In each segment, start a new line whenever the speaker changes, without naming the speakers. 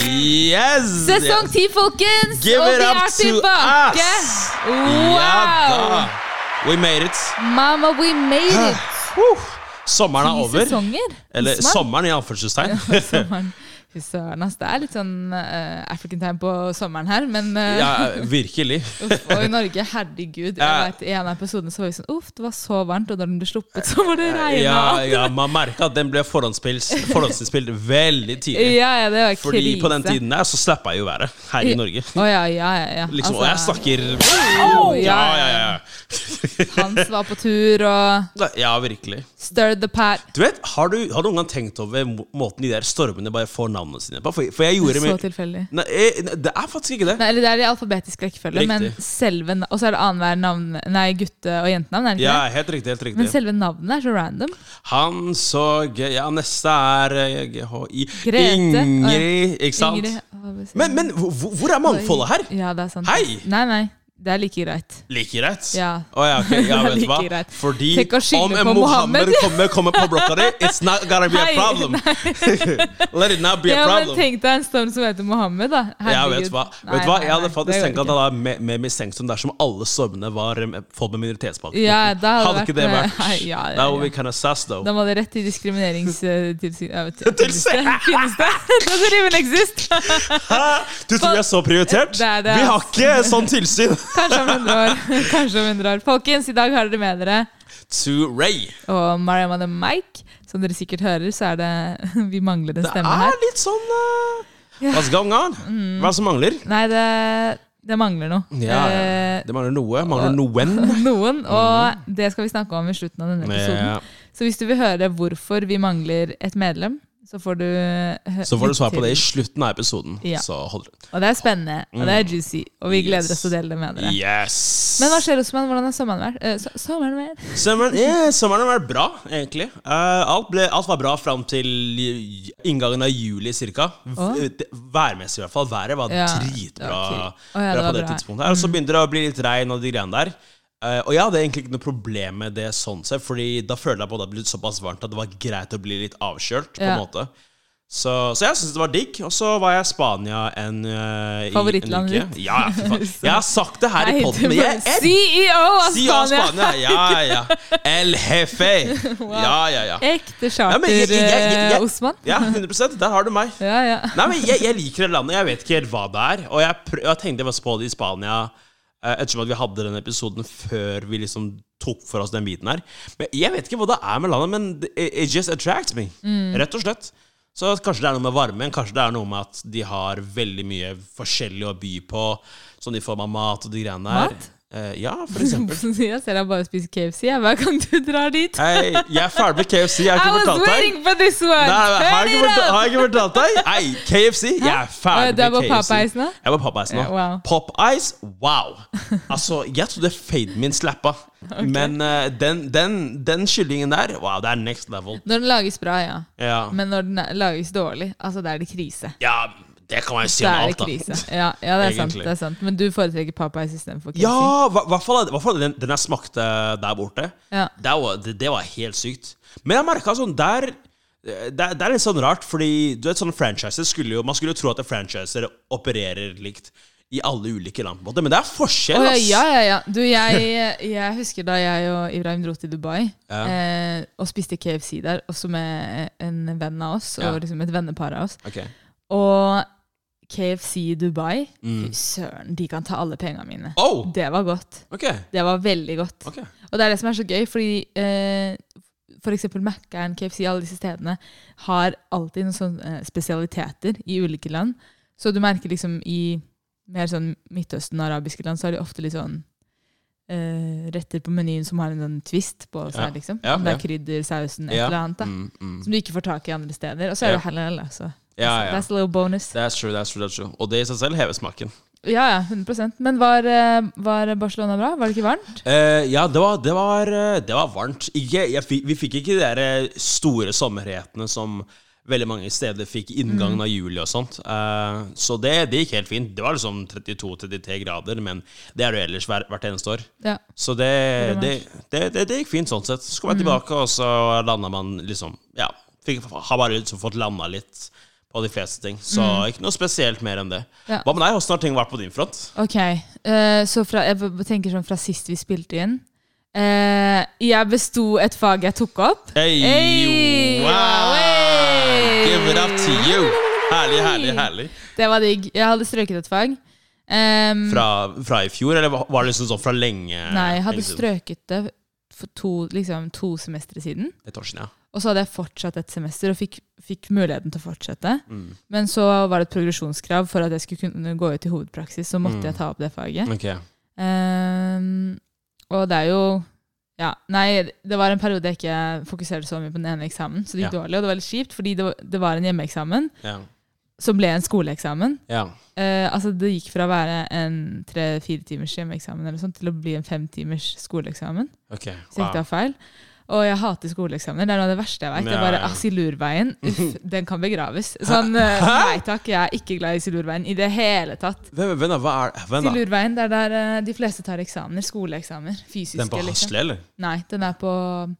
Yes!
Sesong ti, folkens!
Give
og
it
vi
up
er
to
tilbake!
us!
Wow!
Ja da! We made it.
Mama, we made it!
Uh, sommeren er
Ti
over.
sesonger.
Eller
Smart.
sommeren i anførselstegn.
Sommeren. Fy søren, ass. Det er litt sånn eh, African time på sommeren her, men eh,
ja, virkelig.
uff, Og i Norge, herregud. Jeg
Ja.
vet, I en av episodene så var vi sånn Uff, det var så varmt, og da den ble sluppet, så var det regna.
Ja, ja, man merka at den ble forhåndsspilt, forhåndsinnspilt veldig tidlig.
ja, ja, det var krise.
Fordi på den tiden der så slappa jeg jo været her i Norge.
Å ja, ja, ja. ja.
Liksom, og jeg
Altså,
snakker
Oh,
Ja,
ja,
ja, ja.
Hans var på tur og
Da- Ja, virkelig.
stirred the pat.
Du vet, Har du, har du noen gang tenkt over må- måten de der stormene bare får navnene sine på? For, for jeg gjorde
Så
min-
tilfeldig.
Nei, eh, nei, det er faktisk ikke det.
Nei, eller Det er i alfabetisk rekkefølge, men
Riktig.
selve na- Og så er det annenhver navn Nei, gutte- og jentenavn. er det ikke
Ja,
det?
helt riktig. helt riktig
Men selve navnet er så random.
Han så gøy Ja, neste er eh, GHI
Grete.
Ingrid, ikke sant?
Ingrid, ABC.
Men, men hvor, hvor- hvor er mangfoldet her?
Ja, det er sant.
Hei!
Nei, nei. Det er like greit.
Like greit?
Ja.
Å ja, ok, ja
Det er
vet du hva?
like greit.
Fordi
Tenk å skylde
om
på
en
Mohammed.
Mohammed kommer, kommer på blokka di, it's not gonna be a
Hei,
problem. Let it not be a
Ja, men
problem.
tenk deg en storm som heter Mohammed, da.
Ja, vet du hva? Vet du hva? Jeg hadde faktisk tenkt at det
det
var mer mer mistenksomt dersom alle stormene var eh, folk med minoritetsbakgrunn.
Ja, da hadde
hadde
vært
ikke det
med-
vært
Nei, ja, ja,
That would
ja.
be kind of sass, though.
Da må det rett eh, i diskrimineringstilsynet
Tilsyn.
Finnes det? Doesn't even exist!
Hæ? Du tror vi er så prioritert?
Det er det,
Vi har
ass.
ikke sånn tilsyn!
Kanskje om 100 år. Kanskje om 100 år. Folkens, i dag har dere med dere
To Ray.
og Mariam og Mike. Som dere sikkert hører, så er det Vi mangler en
Det
stemme her.
er litt sånn eh, What's going on?
Mm.
Hva som mangler?
Nei, det, det mangler noe.
Ja,
Eh,
det mangler noe. Mangler noen.
noen, og det skal vi snakke om i slutten av denne episoden.
Ja.
Så hvis du vil høre hvorfor vi mangler et medlem, så får du hø-
Så får du svar
lytte
på det i
til.
slutten av episoden.
Ja.
Så holder det.
Og det er spennende, og det er juicy, og vi gleder oss
Yes.
til å dele det med dere.
Mm. Yes!
Men hva skjer, Osman? Hvordan har sommeren vært? Eh, so sommeren vært?
Sommeren, ja, sommeren har vært bra, egentlig. Eh, alt, ble, alt var bra fram til i- inngangen av juli, cirka. V- eh,
Å.
det- Værmessig, i hvert fall. Været var
Ja, det
dritbra
var ok. Å, ja, det
bra
var
på det
bra. Mm.
tidspunktet. her. Og så begynte det å bli litt regn og de greiene der. Eh, og jeg hadde egentlig ikke noe problem med det sånn sett, Fordi da følte jeg på at det hadde blitt såpass varmt at det var greit å bli litt avkjølt, på en
Ja.
måte. Så, så jeg syntes det var digg. Og så var jeg i Spania en, eh, i en
Favorittlandet
uke.
ditt.
Ja, ja, fy faen. Jeg har sagt det her i podden, men jeg, jeg
CEO E av
Sia
Spania!
E Spania. Ja, ja. El Jefe. Ja, ja, ja.
Ekte
Ja, men jeg- jeg- jeg- jeg- jeg-
charter-Osman.
Ja, 100 Der har du meg.
eh, Ja, ja.
Nei, men jeg, jeg liker det landet. Jeg vet ikke helt hva det er. Og jeg, prø jeg tenkte jeg på det i Spania eh, ettersom at vi hadde den episoden før vi liksom tok for oss den biten her. Men Jeg vet ikke hva det er med landet, men det- it, it just attracts me.
Mm.
Rett og slett. Så kanskje det er noe med varmen, kanskje det er noe med at de har veldig mye forskjellig å by på, sånn i form av mat og de greiene der.
Mat?
Eh, ja, for eksempel.
Jeg ser deg bare spise KFC jeg, hver gang du drar dit.
Hei, jeg er ferdig med KFC. Jeg har
I
ikke
was
fortalt deg.
waiting for this one!
Nei, nei, har, jeg ikke
Turn it
fortalt,
up!
har jeg ikke fortalt deg? Nei, KFC. Jeg er
Å,
ferdig
du er på
med KFC.
Popeyes nå?
Jeg er på Popeyes nå.
Ja, wow.
Popeyes, wow. Altså, jeg trodde faden min slappa. Men eh, den, den, den kyllingen der, wow, det er next level.
Når den lages bra, ja.
Ja,
Men når den er- lages dårlig, altså da er det krise.
ja det kan man jo si
Da
om
er det
alt, da.
krise. Ja, ja det, er sant,
Egentlig.
det er sant. Men du foretrekker Popeyes istedenfor KFC?
Ja, i hvert fall hva faen er den, den jeg smakte eh, der borte.
Ja.
Det, var, det, det var helt sykt. Men jeg merka sånn der det, det er litt sånn rart, fordi du vet sånne franchises skulle jo Man skulle jo tro at franchiser opererer likt i alle ulike land, på en måte, men det er forskjell,
Å, ja,
ass!
ja, ja, ja. Du, jeg, jeg husker da jeg og Ibrahim dro til Dubai
Ja.
eh, og spiste KFC der, også med en venn av oss,
Ja.
og liksom et vennepar av oss.
Ok.
Og KFC i Dubai
Mm.
Fy søren, de kan ta alle pengene mine.
Oh,
Det var godt.
ok.
Det var veldig godt.
ok.
Og det er det som er så gøy, fordi eh, for eksempel Mækkern, KFC, alle disse stedene har alltid noen sånne eh, spesialiteter i ulike land. Så du merker liksom i mer sånn Midtøsten og arabiske land, så har de ofte litt sånn eh, retter på menyen som har en sånn twist på seg,
Ja.
liksom.
Ja,
Om det
ja.
er krydder, sausen, et
Ja.
eller annet. da.
Mm, mm.
Som du ikke får tak i andre steder. Og så er
Ja.
det halal, altså.
Ja, ja.
Så That's a little bonus.
That's true, that's true, that's true. Og det i seg selv hever smaken.
Ja, ja, 100 Men var, eh, var Barcelona bra? Var det ikke varmt?
Eh, ja, det var, det var, eh, det var varmt. Ikke, jeg, fi- vi fikk ikke de der eh, store sommerhetene som veldig mange steder fikk inngangen av juli og sånt. Eh, så det, det gikk helt fint. Det var liksom 32-33 grader, men det er det jo ellers hver, hvert eneste år.
Ja.
Så
Veldig
det, det,
nice.
det, det, det gikk fint sånn sett. Så kom jeg tilbake, og så landa man liksom Ja. Fikk, har bare liksom fått landa litt på de fleste ting. Så ikke noe spesielt mer enn det.
Ja.
Hva med deg? Åssen har ting vært på din front?
Ok, eh, så fra, jeg b- tenker sånn fra sist vi spilte inn. Eh, jeg besto et fag jeg tok opp.
Hey,
Hey, wow, hey.
Give it up to you! Herlig, herlig, herlig.
Det var digg. Jeg hadde strøket et fag. Ehm,
Fra, fra i fjor, eller var det liksom sånn fra lenge? sånn
nei, jeg hadde
lenge siden?
strøket det for to, liksom, to semestre siden.
Et år siden, ja.
Og så hadde jeg fortsatt et semester og fikk, fikk muligheten til å fortsette. Men så var det et progresjonskrav for at jeg skulle kunne gå ut i hovedpraksis. Så måtte jeg ta opp det faget.
Ok.
Ehm, og det er jo ja, Nei, det var en periode jeg ikke fokuserte så mye på den ene eksamen, så det gikk
Ja.
dårlig. Og det var litt kjipt, fordi det, var- det var en hjemmeeksamen
Ja.
som ble en skoleeksamen.
ja.
Eh, altså Det gikk fra å være en tre-fire timers hjemmeeksamen eller sånt, til å bli en fem timers skoleeksamen.
Ok.
Så jeg tar feil. Og jeg hater skoleeksamener. Det er noe av det verste jeg vet. Det er
Ja,
bare
ja.
ah, Silurveien. Uff, den kan begraves. Sånn, eh, nei takk, jeg er ikke glad i Silurveien i det hele tatt.
Hvem, hvem da? Hva er hvem da?
Silurveien, det er der eh, de fleste tar eksamener. Skoleeksamener. Fysiske,
Den på
liksom.
Hasle, eller?
Nei, den er på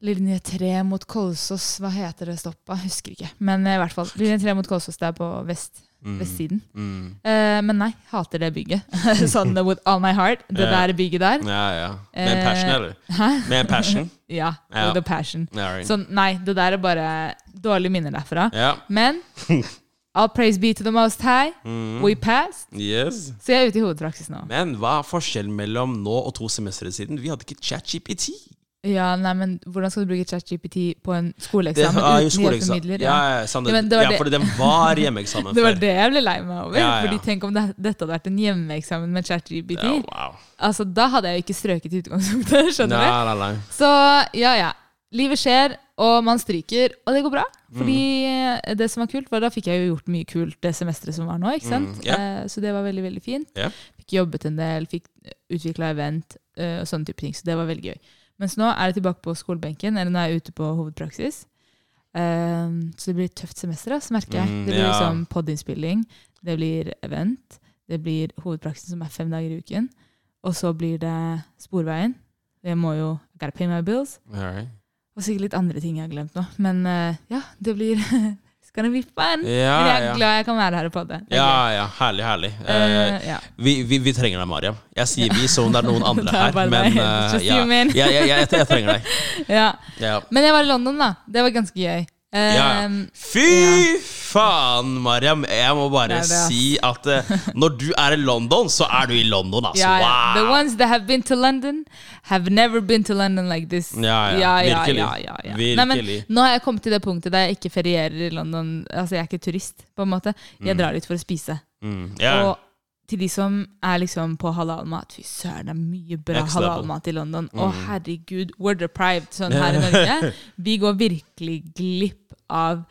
linje 3 mot Kolsås. Hva heter det stoppet? Husker ikke. Men eh, i hvert fall, linje 3 mot Kolsås, det er på vest, vestsiden.
Mm.
Eh, men nei, hater det bygget. sånn with all my heart. Det
Ja.
der bygget der.
Ja, ja. Med en passion,
Eh,
eller? Med en passion?
Ja,
Ja.
with a passion.
Ja, right.
Sånn, nei, det der er bare dårlige minner derfra.
ja.
Men all praise be to the most high.
Mm.
We passed.
Yes.
Så jeg er ute i hovedpraksis nå.
Men hva er forskjellen mellom nå og to semestre siden? Vi hadde ikke ChatGPT.
Ja, nei, men hvordan skal du bruke ChatGPT på en
Det
skoleeksamen
er jo
uten
skoleeksamen.
hjelpemidler?
Ja, ja, sant det.
Ja, men det var
ja,
det-
fordi den var hjemmeeksamen
Det var
før.
det jeg ble lei meg over.
Ja, ja.
Fordi Tenk om det, dette hadde vært en hjemmeeksamen med ChatGPT.
Ja, wow.
Altså, da hadde jeg jo ikke strøket i utgangspunktet. skjønner
Nei, nei, nei.
du? Så ja, ja. Livet skjer, og man stryker, og det går bra. Fordi
Mm.
eh, det som var kult, var da fikk jeg jo gjort mye kult det semesteret som var nå. ikke sant?
Mm, ja.
Eh, Så det var veldig, veldig fint.
Ja.
Fikk jobbet en del, fikk utvikla event eh, og sånne type ting. Så det var veldig gøy. Mens nå er jeg tilbake på skolebenken, eller nå er jeg ute på hovedpraksis. Eh, så det blir et tøft semester, ass, merker jeg.
Mm,
det blir
ja.
liksom podinnspilling, det blir event, det blir hovedpraksis som er fem dager i uken. Og så blir det Sporveien. Jeg må jo I gotta pay my bills.
All right.
Og sikkert litt andre ting jeg har glemt nå. Men eh, ja, det blir It's gonna be
Ja,
fun! Men jeg er
ja.
glad jeg kan være her og podde. Det er
Ja,
gøy.
ja. Herlig, herlig. Eh,
Eh, ja.
Vi, vi, vi trenger deg, Mariam. Jeg sier vi som om det er noen andre
Det er
her.
bare
Men
deg.
eh,
Just
ja,
you, man.
ja, ja, ja, jeg, jeg trenger deg.
ja.
Ja.
Men jeg var i London, da. Det var ganske gøy. Eh,
Ja.
ja.
Fy faen, Mariam. Jeg må bare
Det er det, ass.
si at eh, når du er i London, så er du i London, altså.
ja, ja. The
Wow!
ones that have been to London, have never been to London like this.
Ja, ja. Virkelig.
ja, ja, ja.
Virkelig.
Nei, men, nå har jeg kommet til det punktet der jeg ikke ferierer i London. Altså, jeg er ikke turist, på en måte. Jeg drar dit for å spise.
Mm, ja.
Og til de som er liksom på halalmat Fy søren, det er mye bra
Next level.
halalmat i London. Å,
Mm.
herregud, we're deprived sånn her i Norge. Vi går virkelig glipp av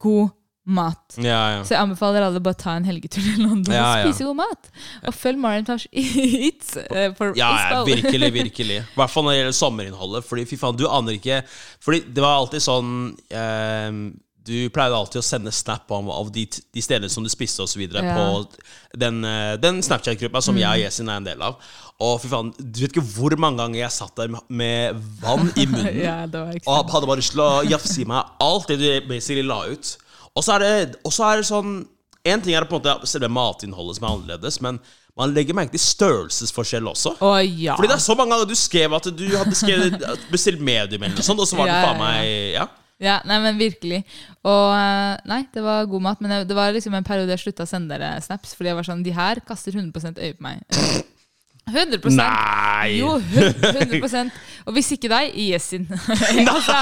god mat.
ja, ja.
Så jeg anbefaler alle bare å ta en helgetur til London
Ja, ja.
og spise god mat. Og følg Mariam Tosh Eats eh, for
Ja, ja,
Isbal.
virkelig, virkelig. I hvert fall når det gjelder sommerinnholdet. Fordi fy faen, du aner ikke Fordi det var alltid sånn eh, Du pleide alltid å sende snap om, av de, de stedene som du spiste osv. videre
Ja. Mm.
på den, eh, den Snapchat-gruppa som jeg og Yesin er en del av. Og fy faen, du vet ikke hvor mange ganger jeg satt der med- med vann i munnen.
Ja, det var
Og
ekstremt.
hadde bare lyst til å jafse i meg alt det du basically la ut. Og så er det, og så er det sånn En ting er på en måte selve matinnholdet som er annerledes, men man legger merke til størrelsesforskjell også.
Å ja.
Fordi det er så mange ganger du skrev at du hadde skrevet, bestilt medium eller noe sånt, og så var det
Ja,
faen
ja, ja.
meg Ja.
Ja, nei, men virkelig. Og eh, nei, det var god mat, men jeg, det var liksom en periode jeg slutta å sende dere snaps, fordi jeg var sånn De her kaster 100 øye på meg. 100
Nei!
Jo, 100 Og hvis ikke deg, Yesin. altså,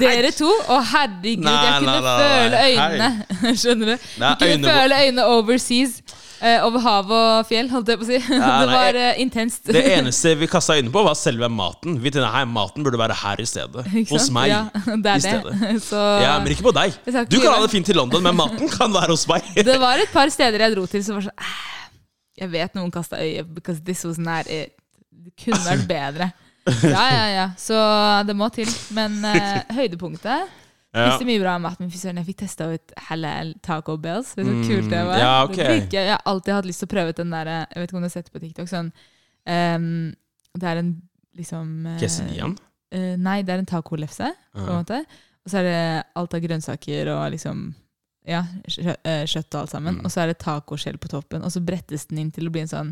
dere to. Å, herregud,
Nei,
jeg kunne
nei, nei,
føle
nei.
øynene. Skjønner du?
Nei,
jeg kunne
øynene-
føle øynene overseas. eh, over hav og fjell, holdt jeg på å si.
Nei,
det
nei,
var eh, intenst.
Det eneste vi kasta øynene på, var selve maten. Vi tenkte hei, maten burde være her i stedet.
Ikke
Hos
sant?
meg.
Ja,
i
det er
stedet.
det. Så
Ja, men ikke på deg.
Jeg skal ikke
Du kan ha
gjøre
det fint i London, men maten kan være hos meg.
Det var et par steder jeg dro til som var sånn "Ah, Jeg vet noen kasta øye, because this was not it. Det kunne vært bedre. Ja, ja, ja. Så det må til. Men eh, høydepunktet
Ja.
Spiste mye bra mat, men fy søren, jeg fikk testa ut halal taco bells. Vet du hvor kult det
Mm,
var?
ja, ok.
Det digger jeg. jeg har alltid hatt lyst til å prøve ut den der eh, Jeg vet ikke om du har sett det på TikTok, sånn ehm, Det er en liksom eh,
Quesadillan?
eh, nei, det er en tacolefse, på en
Ja.
måte. Og så er det alt av grønnsaker og liksom Ja, kjø eh, kjøtt og alt sammen.
Mm.
Og så er det tacoskjell på toppen, og så brettes den inn til å bli en sånn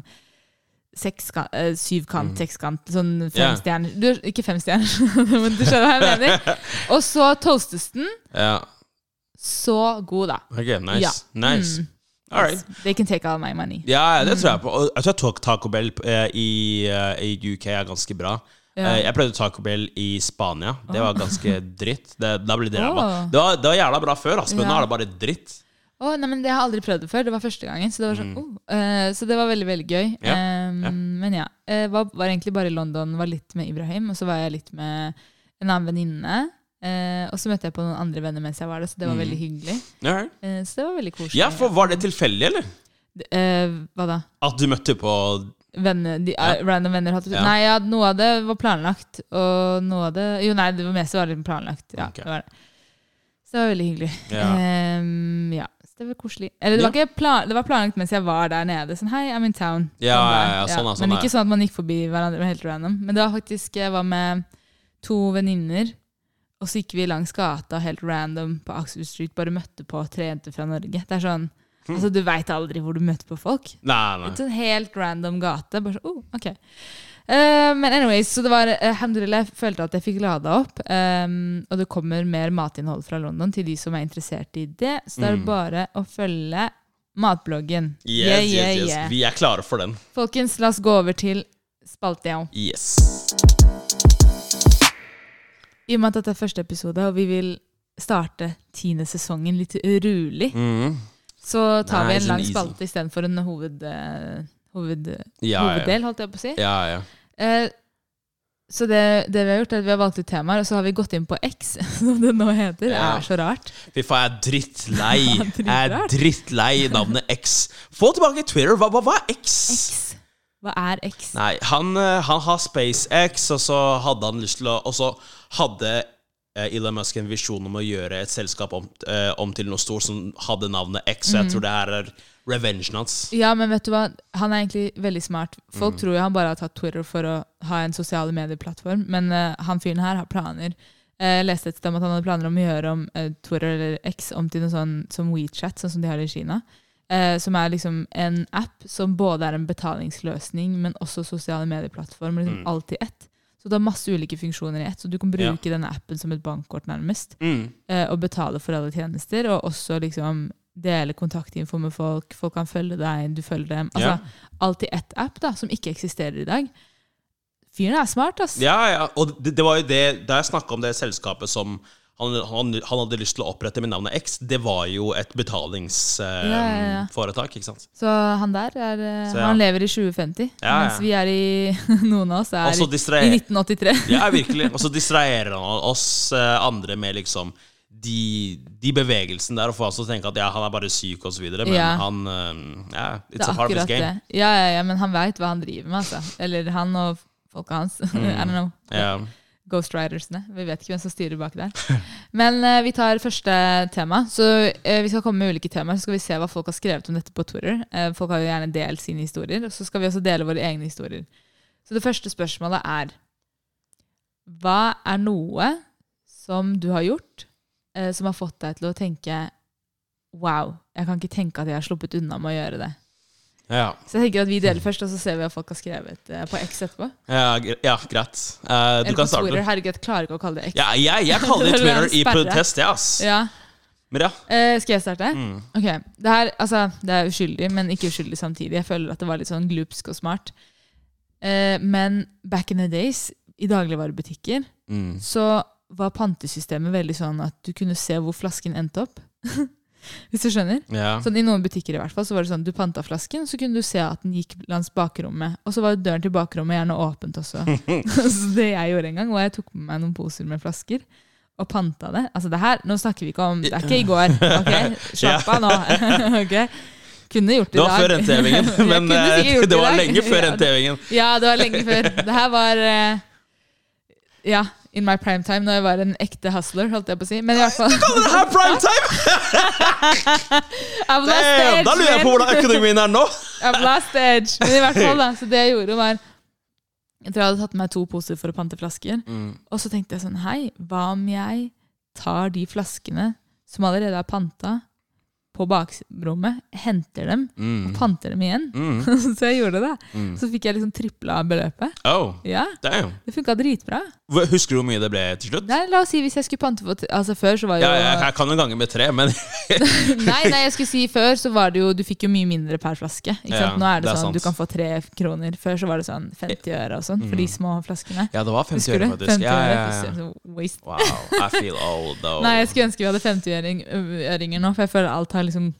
sekska- eh, syvkant,
Mm.
sekskant, sånn
Ja.
femstjerner du, Ikke femstjerner, men du skjønner hva jeg mener. Og så toastes den.
ja.
Så god, da.
Ok, nice.
Ja.
Nice.
Mm.
All right.
They can take all my money.
Ja, det tror jeg på. Og Jeg tror Taco- Taco Bell eh, i, eh, i UK er ganske bra.
Ja.
Eh, Jeg prøvde Taco Bell i Spania. Det var ganske dritt. Det, da ble det ræva.
Åh.
Det, var- det var jævla bra før, ass, men
Ja.
nå er det bare dritt.
Å, nei, men Det har jeg aldri prøvd det før. Det var første gangen. Så det var, sånn, oh, eh, så det var veldig veldig gøy.
Mm. Ja,
Ehm,
ja.
Men ja. eh, var, var egentlig bare i London. Var litt med Ibrahim, og så var jeg litt med en annen venninne. eh, og så møtte jeg på noen andre venner mens jeg var der, så det var veldig hyggelig.
All right.
Eh, så det var veldig koselig.
Mm. Ja, for Var det tilfeldig, eller?
Eh, hva da?
At du møtte på
Venner, de, eh, Random venner? hadde-
Ja.
Nei, ja, noe av det var planlagt. Og noe av det Jo, nei, det var meste var litt planlagt. Ja,
Ok.
det var det. Så det var veldig hyggelig.
Ja.
Ehm, ja. Så det var koselig. Eller det var,
Ja.
ikke plan, det var planlagt mens jeg var der nede. Sånn hei, I'm in town.
Ja,
Sånn var
ja,
det.
ja, sånn er- sånn
Men
er.
ikke sånn at man gikk forbi hverandre helt random. Men det var faktisk Jeg var med to venninner, og så gikk vi langs gata helt random på Axel Street. Bare møtte på tre jenter fra Norge. Det er sånn
Hm.
Altså, du veit aldri hvor du møter på folk.
Nei, nei.
Ut en helt random gate. Bare så, oh, ok. Eh, men anyways, så det var eh, alhamdulillah, jeg følte at jeg fikk lada opp. ehm, og det kommer mer matinnhold fra London til de som er interessert i det. Så det er
Mm.
bare å følge matbloggen.
Yes,
Yeah,
yes,
yeah,
yes.
yeah.
Vi er klare for den.
Folkens, la oss gå over til spalteo.
Yes.
I og med at dette er første episode, og vi vil starte tiende sesongen litt rolig,
Mm.
så tar vi
Nice
en lang
and easy.
spalte istedenfor en hoved, eh, hoved,
Ja, ja.
hoveddel, holdt jeg på å si.
ja, ja.
Eh, så det, det vi har gjort, er at vi har valgt ut temaer, og så har vi gått inn på X, som det nå heter. Det
Ja.
er så rart.
Fy faen, jeg er drittlei. Jeg er
Drittrart.
drittlei navnet X. Få tilbake Twitter. Hva, hva, hva er X?
X. Hva er X?
Nei, han, eh, han har SpaceX, og så hadde han lyst til å Og så hadde eh, Elon Musk en visjon om å gjøre et selskap om, eh, om til noe stort som hadde navnet X.
Mhm.
Så jeg tror det her er revengen hans.
Ja, men vet du hva? Han er egentlig veldig smart.
Mm.
Folk tror jo han bare har tatt Twitter for å ha en sosiale medieplattform, men eh, han fyren her har planer. Eh, Jeg leste et sted om at han hadde planer om å gjøre om eh, Twitter eller X om til noe sånn som WeChat, sånn som de har i Kina. Eh, som er liksom en app som både er en betalingsløsning, men også sosiale medieplattformer. Liksom
Mm.
Alt i ett. Så det har masse ulike funksjoner i ett. Så du kan bruke denne appen som et bankkort, nærmest
Mm.
eh, og betale for alle tjenester, og også liksom dele kontaktinfo med folk. Folk kan følge deg, du følger dem. Altså,
Ja.
Alt i ett app da, som ikke eksisterer i dag. Fyren er smart, ass.
Ja, ja. Og det, det var jo det Da jeg snakka om det selskapet som han, han, han hadde lyst til å opprette med navnet X, det var jo et betalingsforetak,
Ja, ja, ja.
ikke sant?
Så han der, er, eh,
Så ja.
han lever i 2050,
Ja, ja.
mens vi er i, noen av oss er
Og så
i
distraher
1983.
Ja, virkelig. Og så distraherer han oss eh, andre med liksom de, de bevegelsene der, og får oss til å tenke at ja, han er bare syk og så videre, men
Ja.
han eh, Ja,
Det
it's
er
a part of
akkurat
his
det.
game.
Ja, ja, ja, men han veit hva han driver med, altså. Eller han og folka hans. I don't know.
Mm. Ja.
Ghostwritersene. Vi vet ikke hvem som styrer bak der. Men eh, vi tar første tema. Så eh, Vi skal komme med ulike temaer, så skal vi se hva folk har skrevet om dette på Twitter. Eh, folk har jo gjerne delt sine historier, og så skal vi også dele våre egne historier. Så det første spørsmålet er Hva er noe som du har gjort eh, som har fått deg til å tenke Wow, jeg kan ikke tenke at jeg har sluppet unna med å gjøre det.
Ja,
Så jeg tenker at vi deler først, og så ser vi hva folk har skrevet eh, på X etterpå.
ja, gre- ja greit. Eh, du
Eller
kan
på
starte.
Twitter. Herregud, jeg klarer ikke å kalle det X.
Ja, jeg, jeg kaller det
Det var en
Twitter i
sperre.
protest, jeg, ass.
Ja.
Men ja.
Eh, skal jeg starte?
Mm.
Ok, det, her, altså, det er uskyldig, men ikke uskyldig samtidig. Jeg føler at det var litt sånn glupsk og smart. Eh, men back in the days, i dagligvarebutikker,
Mm.
så var pantesystemet veldig sånn at du kunne se hvor flasken endte opp. Hvis du skjønner?
ja.
Sånn I noen butikker i hvert fall, så var det sånn du panta flasken, så kunne du se at den gikk langs bakrommet. Og så var jo døren til bakrommet gjerne åpent også. så det jeg gjorde en gang, var jeg tok med meg noen poser med flasker og panta det. Altså det her, Nå snakker vi ikke om Det er ikke i går. ok? Slapp av nå. ok? Kunne gjort
Det
det i dag.
var før rentehevingen,
Jeg
men
kunne
eh,
sikkert gjort
det
i
var
dag.
lenge før
Ja,
rentehevingen.
ja, det var lenge før. Det her var eh, Ja, in my prime time, når jeg var en ekte hustler, holdt jeg på å si. Men i hvert fall
Kaller det her prime time?!
I've lost the
Damn,
edge,
da lurer jeg på
man.
hvordan økonomien er nå!
I've lost the edge. Men i hvert fall, da. Så det jeg gjorde, var Jeg tror jeg hadde tatt med to poser for å pante flasker.
Mm.
Og så tenkte jeg sånn Hei, hva om jeg tar de flaskene som allerede er panta, på bakrommet, henter dem
Mm.
og panter dem igjen? så jeg gjorde det. Så fikk jeg liksom tripla beløpet.
Oh,
Ja,
damn.
det funka dritbra.
Hvor- Husker du hvor mye det ble til slutt?
Nei, la oss si hvis jeg skulle pante for Altså før så var jo
Ja, jeg, jeg kan jo gange med tre, men
Nei, nei, jeg skulle si før så var det jo Du fikk jo mye mindre per flaske. Ikke
Ja,
sant? Nå er det,
det er
sånn
sant.
du kan få tre kroner. Før så var det sånn 50 øre og sånn for de små flaskene.
Mm. Ja, det var 50
Husker du?
øre, faktisk.
50
Ja,
øre.
ja, ja.
Fy søren, så Waste.
Wow, I feel old, though.
Nei, jeg skulle ønske vi hadde 50-øringer nå, for jeg føler alt har liksom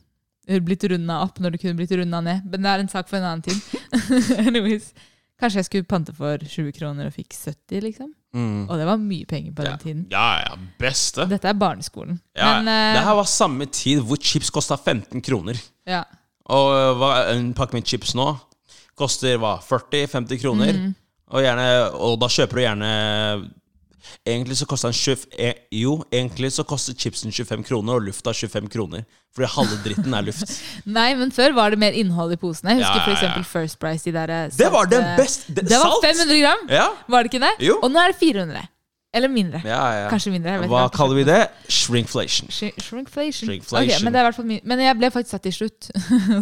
blitt runda opp når det kunne blitt runda ned. Men det er en sak for en annen tid. Anyways. Kanskje jeg skulle pante for 20 kroner og fikk 70, liksom.
Mm.
Og det var mye penger på den tiden.
Ja, ja, beste.
Dette er barneskolen.
Ja,
Men, eh,
det her var samme tid hvor chips kosta 15 kroner.
ja.
Og eh, hva, en pakke med chips nå koster hva, 40-50 kroner.
Mhm.
Og, gjerne, og da kjøper du gjerne Egentlig så kosta en 20, eh, Jo, egentlig så koster chipsen 25 kroner og lufta 25 kroner. Fordi halve dritten er luft.
Nei, men før var det mer innhold i posene. Jeg husker
Ja,
for
ja, ja.
eksempel First Price. De der, eh,
Det var
salte-
den beste det-
Det var
Salt!
500 gram!
Ja,
Var det ikke det?
Jo.
Og nå er det 400. Eller mindre.
ja, ja.
Kanskje mindre. Jeg vet
Hva
ikke.
kaller vi det? Shrinkflation.
Shri- Shrinkflation.
Shrinkflation.
Ok, men, det er i hvert fall mye- men jeg ble faktisk satt til slutt.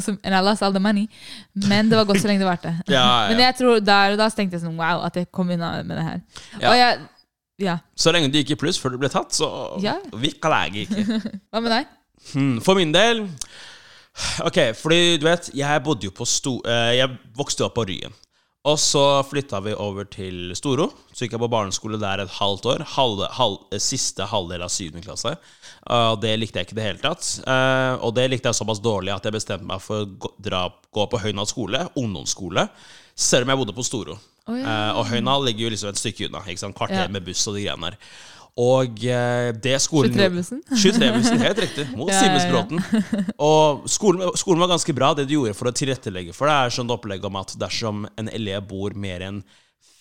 Som- And I lost all the money. Men det var godt så lenge det varte.
Ja,
Men
ja.
jeg tror der og da tenkte jeg sånn wow, at jeg kom unna med det her.
Ja.
Og jeg, ja.
Så lenge du gikk i pluss før du ble tatt, så
Ja.
vi klager ikke.
Hva med deg?
Mm, For min del Ok, fordi du vet Jeg bodde jo på Sto... eh, Jeg vokste jo opp på Ryen. Og så flytta vi over til Storo. Så gikk jeg på barneskole der et halvt år. Halve, halv, eh, siste halvdel av syvende klasse. Eh, Og det likte jeg ikke i det hele tatt. Eh, og det likte jeg såpass dårlig at jeg bestemte meg for å gå, dra, gå på Høynad skole, ungdomsskole, selv om jeg bodde på Storo.
Å, ja.
Eh, og Høynad ligger jo liksom et stykke unna. Ikke sant? Kvarter
Ja.
med buss og de greiene der. Og eh, det skolen
23-bussen?
23-bussen, helt riktig. Mot
Ja, ja, ja.
Simensbråten. Og skolen, skolen var ganske bra, det de gjorde for å tilrettelegge for det, er sånn opplegg om at dersom en elev bor mer enn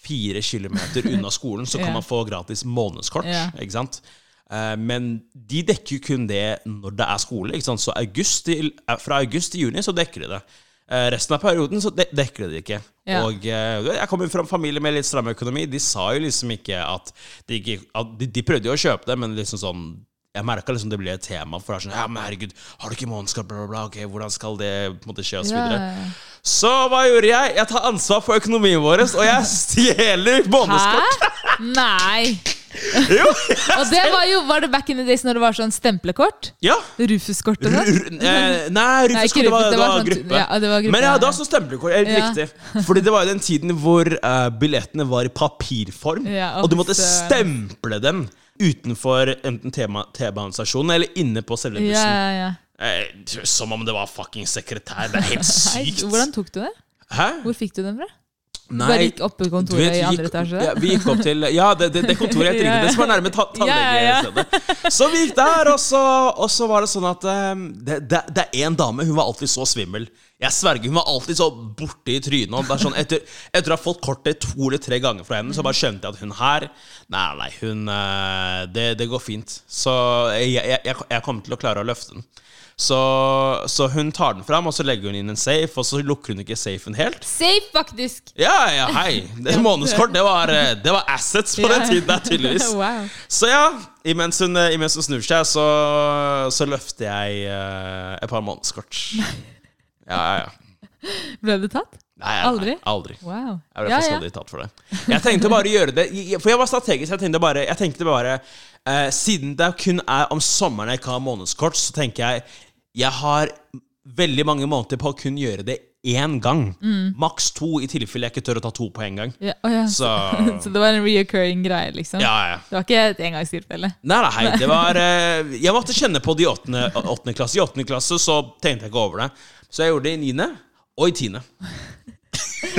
fire kilometer unna skolen, så kan
Ja.
man få gratis månedskort.
Ja.
Ikke sant? Eh, Men de dekker jo kun det når det er skole. Ikke sant? Så august til, eh, fra august til juni så dekker de det. Eh, Resten av perioden så de dekker de det ikke.
Ja.
Og eh, jeg kommer fra en familie med litt stram økonomi. De sa jo liksom ikke at De, ikke, at de, de prøvde jo å kjøpe det, men liksom sånn jeg merka liksom det ble et tema. For det er sånn, ja, men herregud, har du ikke månedskap, bla, bla, bla, ok, hvordan skal det på en måte skje, og så
Ja,
videre.
ja, ja.
Så hva gjorde jeg? Jeg tar ansvar for økonomien vår, og jeg stjeler månedskort!
Hæ? Nei!
Jo!
Og det var jo var det back in the days når det var sånn stemplekort?
Ja.
Rufus-kort
R
og
r- eh,
sånn?
nei,
Nei,
Rufus
ikke
det var,
Rufus,
det var
sånn-
gruppe.
ja, det var gruppe,
Men jeg hadde
ja.
også stemplekort. sånn Helt
Ja.
riktig. Fordi det var jo den tiden hvor eh, billettene var i papirform,
Ja,
og du måtte
søren.
stemple dem utenfor enten tema- T-banestasjonen eller inne på selve bussen.
Ja, ja, ja.
Eh, som om det var fucking sekretær. Det er helt
Nei,
sykt.
hvordan tok du det?
Hæ?
Hvor fikk du den fra?
Nei,
Bare gikk oppe i
du vet,
kontoret
vi
i andre
gikk-
etasje?
Ja, vi gikk opp til Ja, det, det, det kontoret heter
Ja,
ikke
ja.
det som er nærme ta tannlegestedet. Så vi gikk der, og så, og så var det sånn at eh, det, det, det er én dame, hun var alltid så svimmel. Jeg sverger, hun var alltid så borte i trynet. Og det er sånn, etter, etter å ha fått kortet to eller tre ganger fra henne, så bare skjønte jeg at hun her Nei, nei, hun eh, Det, det går fint. Så jeg, jeg, jeg, jeg kommer til å klare å løfte den. Så, så hun tar den fram, og så legger hun inn en safe, og så lukker hun ikke safen helt.
Safe, faktisk!
Ja, ja, hei. Det Månedskort, det var, eh, det var assets på den
Ja.
tiden der, tydeligvis.
Wow.
Så ja, imens hun, eh, imens hun snur seg, så, så løfter jeg eh, et par månedskort. Ja, ja, ja.
Ble du tatt?
Nei,
Aldri?
Nei, aldri.
Wow.
Jeg ble ja, tatt for det. Jeg tenkte bare å gjøre det jeg- For jeg var strategisk. Jeg tenkte bare, jeg tenkte bare eh, Siden det kun er om sommeren jeg ikke har månedskort, så tenker jeg Jeg har veldig mange måneder på å kun gjøre det én gang. Maks to, i tilfelle jeg ikke tør å ta to på en gang.
Ja, å ja. Så.
Så
det var en reoccurring greie, liksom?
Ja, ja.
Det var ikke et engangstilfelle?
Nei, nei, hei, det var eh, Jeg måtte kjenne på det i åttende, åttende klasse. I åttende klasse så tenkte jeg ikke over det. Så jeg gjorde det i niende og i tiende.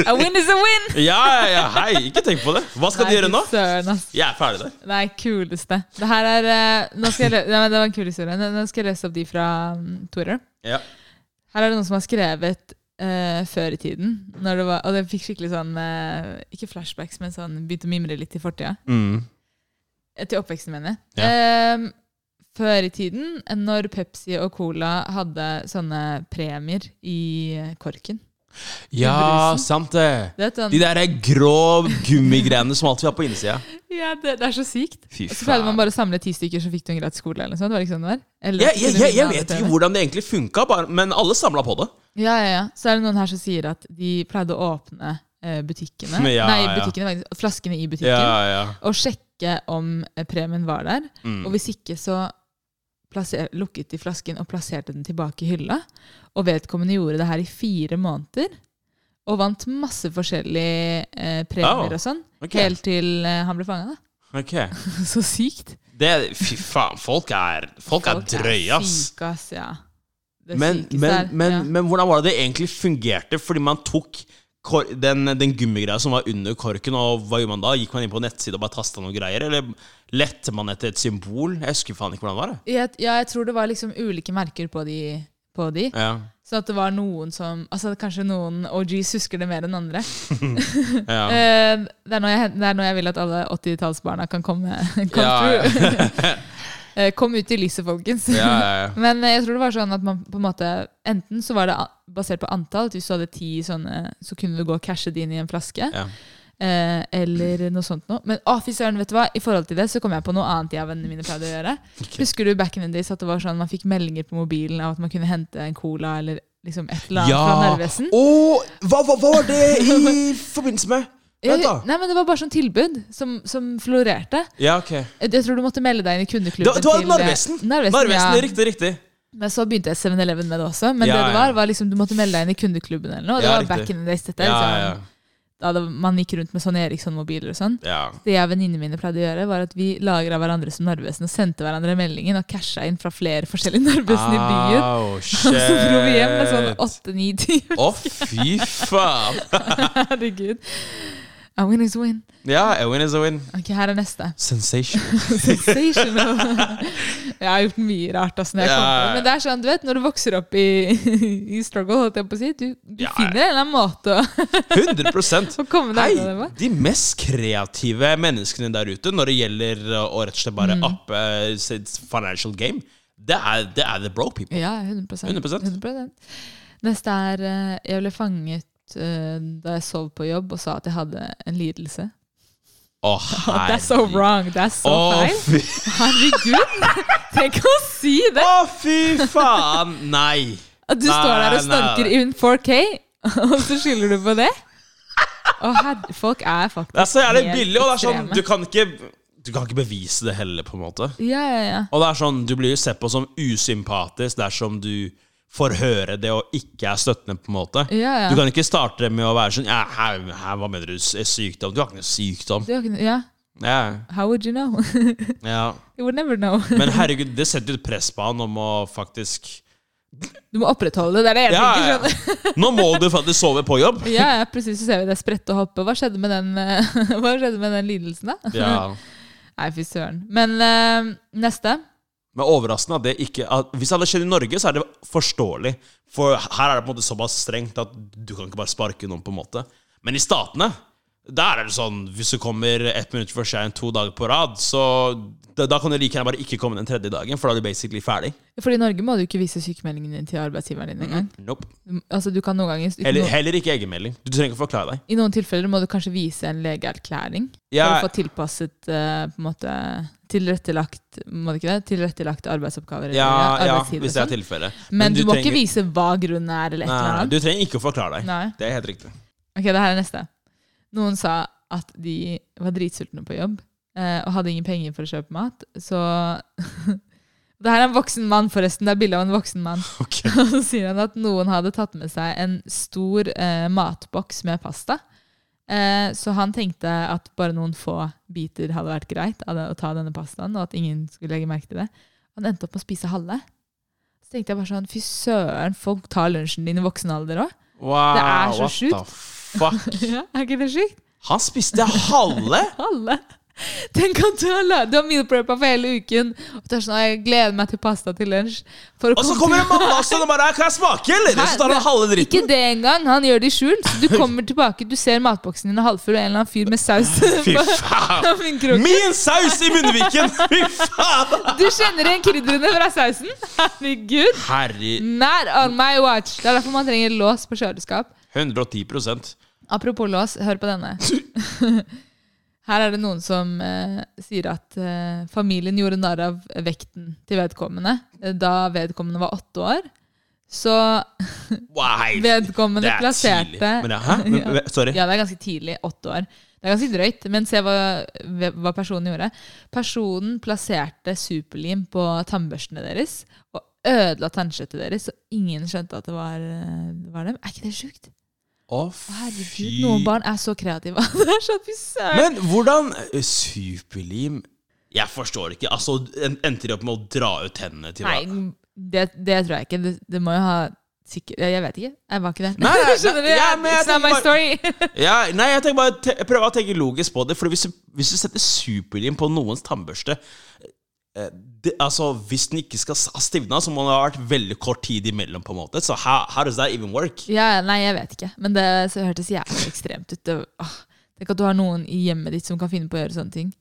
A win is a win!
Ja, ja, ja, hei, ikke tenk på det. Hva skal
Nei,
du gjøre nå?
fy Søren, ass.
Jeg er ferdig der.
Nei, kuleste. Det her er eh, nå skal jeg lø- Nei, men Det var en kul historie. Nå nå skal jeg lese opp de fra mm, Twitter.
Ja.
Her er det noen som har skrevet eh, før i tiden, når det var,
Mm.
og det fikk skikkelig sånn eh, Ikke flashbacks, men sånn begynte å mimre litt i fortida. til oppveksten, mener jeg.
Ja.
Ehm, før i tiden, når Pepsi og Cola hadde sånne premier i eh, korken.
Ja,
brusen.
sant det.
Det er, sånn,
De der grå gummigreiene som alltid var på innsida.
ja, det, det er så sykt.
Fy
Og så pleide man
faen.
bare å samle ti stykker, så fikk du en gratis skole. Eller noe sånt. Var det ikke sånn det var? Eller,
Jeg, jeg, jeg, jeg vet
TV.
ikke hvordan det egentlig funka, bare- men alle samla på det.
Ja, ja, ja. Så er det noen her som sier at de pleide å åpne eh, butikkene.
Ja,
Nei,
ja.
butikkene, faktisk, flaskene i butikken.
Ja, ja.
Og sjekke om eh, premien var der.
Mm.
Og hvis ikke, så plasser, lukket de flasken og plasserte den tilbake i hylla. Og vedkommende gjorde det her i fire måneder. Og vant masse forskjellige eh, premier
Oh,
og sånn.
ok.
Helt til eh, han ble fanga, da.
Ok.
Så sykt.
Det, fy faen, folk er, folk er drøye, ass.
Syke, ass. Ja. Det
Men,
sykeste
men,
er-
men,
ja.
men hvordan var det det egentlig fungerte? Fordi man tok kor den, den gummigreia som var under korken, og hva gjorde man da? Gikk man inn på nettsida og bare tasta noen greier? Eller lette man etter et symbol? Jeg husker faen ikke hvordan det var. jeg.
jeg, ja, jeg tror det var liksom ulike merker på de. På de.
Ja,
Så at det var noen som Altså Kanskje noen OGs husker det mer enn andre.
ja.
Eh, det, er nå jeg, det er nå jeg vil at alle 80-tallsbarna kan komme come
Ja, ja.
through. Eh, Kom ut i lyset, folkens.
Ja, ja, ja.
Men eh, jeg tror det var sånn at man på en måte Enten så var det a- basert på antall. at Hvis du hadde ti sånne, så kunne du gå og cashe det inn i en flaske.
Ja.
Eh, eller noe sånt noe. Men å, fy søren, vet du hva? I forhold til det så kom jeg på noe annet jeg og vennene mine pleide å gjøre. Husker du back in the days at det var sånn man fikk meldinger på mobilen av at man kunne hente en cola eller liksom et eller annet fra Narvesen?
Og hva, hva, hva var det i forbindelse med?
Jeg-
Vent, da.
Nei, men Det var bare sånn tilbud som, som florerte.
Ja, ok.
Jeg jeg tror du måtte melde deg inn i kundeklubben.
Det, det var
til- eh,
Narvesen!
Narvesen,
Narvesen,
ja.
Riktig, riktig.
Men så begynte jeg 7-Eleven med det også. Men
Ja,
det det
ja.
var, var liksom du måtte melde deg inn i kundeklubben eller noe. og Det
Ja,
var
riktig.
back in the days dette.
Ja,
liksom,
ja,
Da det, man gikk rundt med sånne Eriksson-mobiler og sånn.
ja.
Det jeg og venninnene mine pleide å gjøre, var at vi lagra hverandre som Narvesen og sendte hverandre meldingen og casha inn fra flere forskjellige Narvesen i byen.
Au,
Og så dro vi hjem med sånn
Ah, shit.
åtte-ni timer.
Å, fy faen!
Herregud. A win is win.
Ja, a win is a win.
Ok, her er neste.
Sensational.
Sensational. jeg har gjort mye rart. Altså, når jeg
Ja,
kom på
ja,
det.
ja.
Men det er sånn, du vet, når du vokser opp i, i struggle, holdt jeg på å si, du, du
Ja, ja.
finner en eller annen måte å,
100
å komme deg
Hei,
unna det på.
de mest kreative menneskene der ute når det gjelder å rett og slett bare
Mm.
uppe eh, sitt financial game, det er, det er the bro people.
Ja, 100,
100%.
100%. Neste er eh, Jeg ble fanget eh, da jeg sov på jobb og sa at jeg hadde en lidelse.
Å,
That's so
herregud.
wrong. That's so
Å,
feil.
fy,
Herregud! Tenk å si det!
å, fy faen! Nei.
At du står der
Nei,
og
nei,
snorker
nei.
in 4K, og så skylder du på det? Å, herre- folk er faktisk
Det Altså, er så jævlig
helt
billig, og det er sånn
ekstreme.
Du kan ikke, du kan ikke bevise det heller, på en måte.
Ja, ja, ja.
Og det er sånn, du blir jo sett på som usympatisk dersom du får høre det og ikke er støttende, på en måte.
Ja, ja.
Du kan ikke starte med å være sånn ja, her, her, Hva mener du? s- Sykdom? Du har ikke noe sykdom.
Du har ikke noe- ja.
Ja,
How would you know?
ja.
you would never know.
Men herregud, det setter jo et press på han om å faktisk
Du må opprettholde det. Det er det jeg
Ja,
tenker.
ja.
Sånn.
Nå må du faktisk sove på jobb!
Ja, ja, plutselig så ser vi det sprette og hoppe. Hva skjedde med den, eh, hva skjedde med den lidelsen, da?
Ja.
Nei, fy søren. Men eh, neste.
Men overraskende at det ikke at Hvis det hadde skjedd i Norge, så er det forståelig. For her er det på en måte såpass strengt at du kan ikke bare sparke noen, på en måte. Men i Statene, der er det sånn hvis du kommer ett minutt for seint to dager på rad, så da, da kan du like gjerne bare ikke komme den tredje dagen, for da er du basically ferdig.
Fordi i Norge må du ikke vise sykemeldingen din til arbeidsgiveren din engang.
Nope.
Du- Altså, du kan noen ganger
Eller,
no,
heller ikke egenmelding. Du trenger ikke forklare deg.
I noen tilfeller må du kanskje vise en legeerklæring
Ja.
for å få tilpasset eh, på en måte tilrettelagt Må det ikke det? Tilrettelagte arbeidsoppgaver. eller
Ja, ja,
arbeidstid og
hvis det
sånn.
er tilfellet.
Men du, må
trenger-
ikke vise hva grunnen er, eller et eller
Nei,
annet.
du trenger ikke å forklare deg.
Nei.
Det er helt riktig.
Ok, det her er neste. Noen sa at de var dritsultne på jobb eh, og hadde ingen penger for å kjøpe mat, så Det her er en voksen mann, forresten. Det er bilde av en voksen mann.
Ok.
Og så sier han at noen hadde tatt med seg en stor eh, matboks med pasta. Eh, så han tenkte at bare noen få biter hadde vært greit av det, å ta denne pastaen, og at ingen skulle legge merke til det. Han endte opp med å spise halve. Så tenkte jeg bare sånn, fy søren, folk tar lunsjen din i voksen alder òg.
Wow,
er så
what the fuck?
Ja, er ikke det sjukt?
Han spiste halve!
Halve. Tenk at du har, la- du har mealpreppa for hele uken. Og du er sånn, «Å, jeg gleder meg til pasta til lunsj. For å
Og så
komme
kommer en mamma også og bare 'Kan jeg smake', eller? Og så tar han halve
Ikke
dritten.
det engang. Han gjør det i skjul. Så du kommer tilbake, du ser matboksen din er halvfull, og en eller annen fyr med saus
Fy
på
faen!
på min krok.
Min saus i munnviken! Fy faen!
Du kjenner igjen krydderne fra sausen. Herregud.
Herre
Not on my watch. Det er derfor man trenger lås på kjøleskap.
110
Apropos lås, hør på denne. Her er det noen som eh, sier at eh, familien gjorde narr av vekten til vedkommende eh, da vedkommende var åtte år. Så
Wow.
vedkommende
det er
plasserte
tidlig. Men, ja, hæ? Men,
Ja.
men, sorry.
Ja, det er ganske tidlig. Åtte år. Det er ganske drøyt, men se hva, hva personen gjorde. Personen plasserte superlim på tannbørstene deres og ødela tannkjøttet deres, så ingen skjønte at det var, eh, var dem. Er ikke det sjukt?
Å,
Herregud,
fy
noen barn er så kreative. det er sånn, fy søren.
Men hvordan Superlim Jeg forstår ikke. Altså, en- Endte de opp med å dra ut tennene til
Nei,
hva-
det, det tror jeg ikke. Det, det må jo ha sikkert Jeg vet ikke. Jeg var ikke der.
Nei, nei, nei,
Skjønner du?
ja, men jeg
It's not my
tenker
story.
Ja, nei, jeg tenker bare te prøver å tenke logisk på det. For hvis, du- hvis du setter superlim på noens tannbørste eh, det, altså, Hvis den ikke skal s- ha stivna, så må det ha vært veldig kort tid imellom. på en måte Så how, how does that even work?
ja, ja, nei, jeg vet ikke. Men det så hørtes jævlig ekstremt ut. Det, åh, tenk at du har noen i hjemmet ditt som kan finne på å gjøre sånne ting.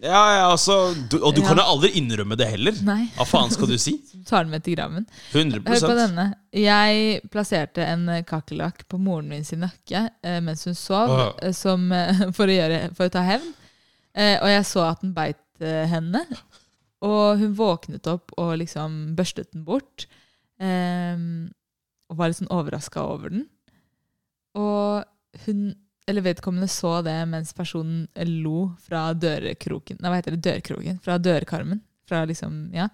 Ja, ja, altså du, Og du kan jo
Ja.
aldri innrømme det heller.
Nei.
Hva faen skal du si?
Du tar den med til graven.
100
Hør på denne. Jeg plasserte en eh, kakerlakk på moren min sin nakke eh, mens hun sov,
Åh.
eh, som, eh, for, å gjøre, for å ta hevn. Eh, og jeg så at den beit eh, henne. Og hun våknet opp og liksom børstet den bort. Eh, og var litt sånn overraska over den. Og hun, eller vedkommende, så det mens personen eh, lo fra dørkroken Nei, hva heter det? Dørkroken? Fra dørkarmen. Fra liksom, ja.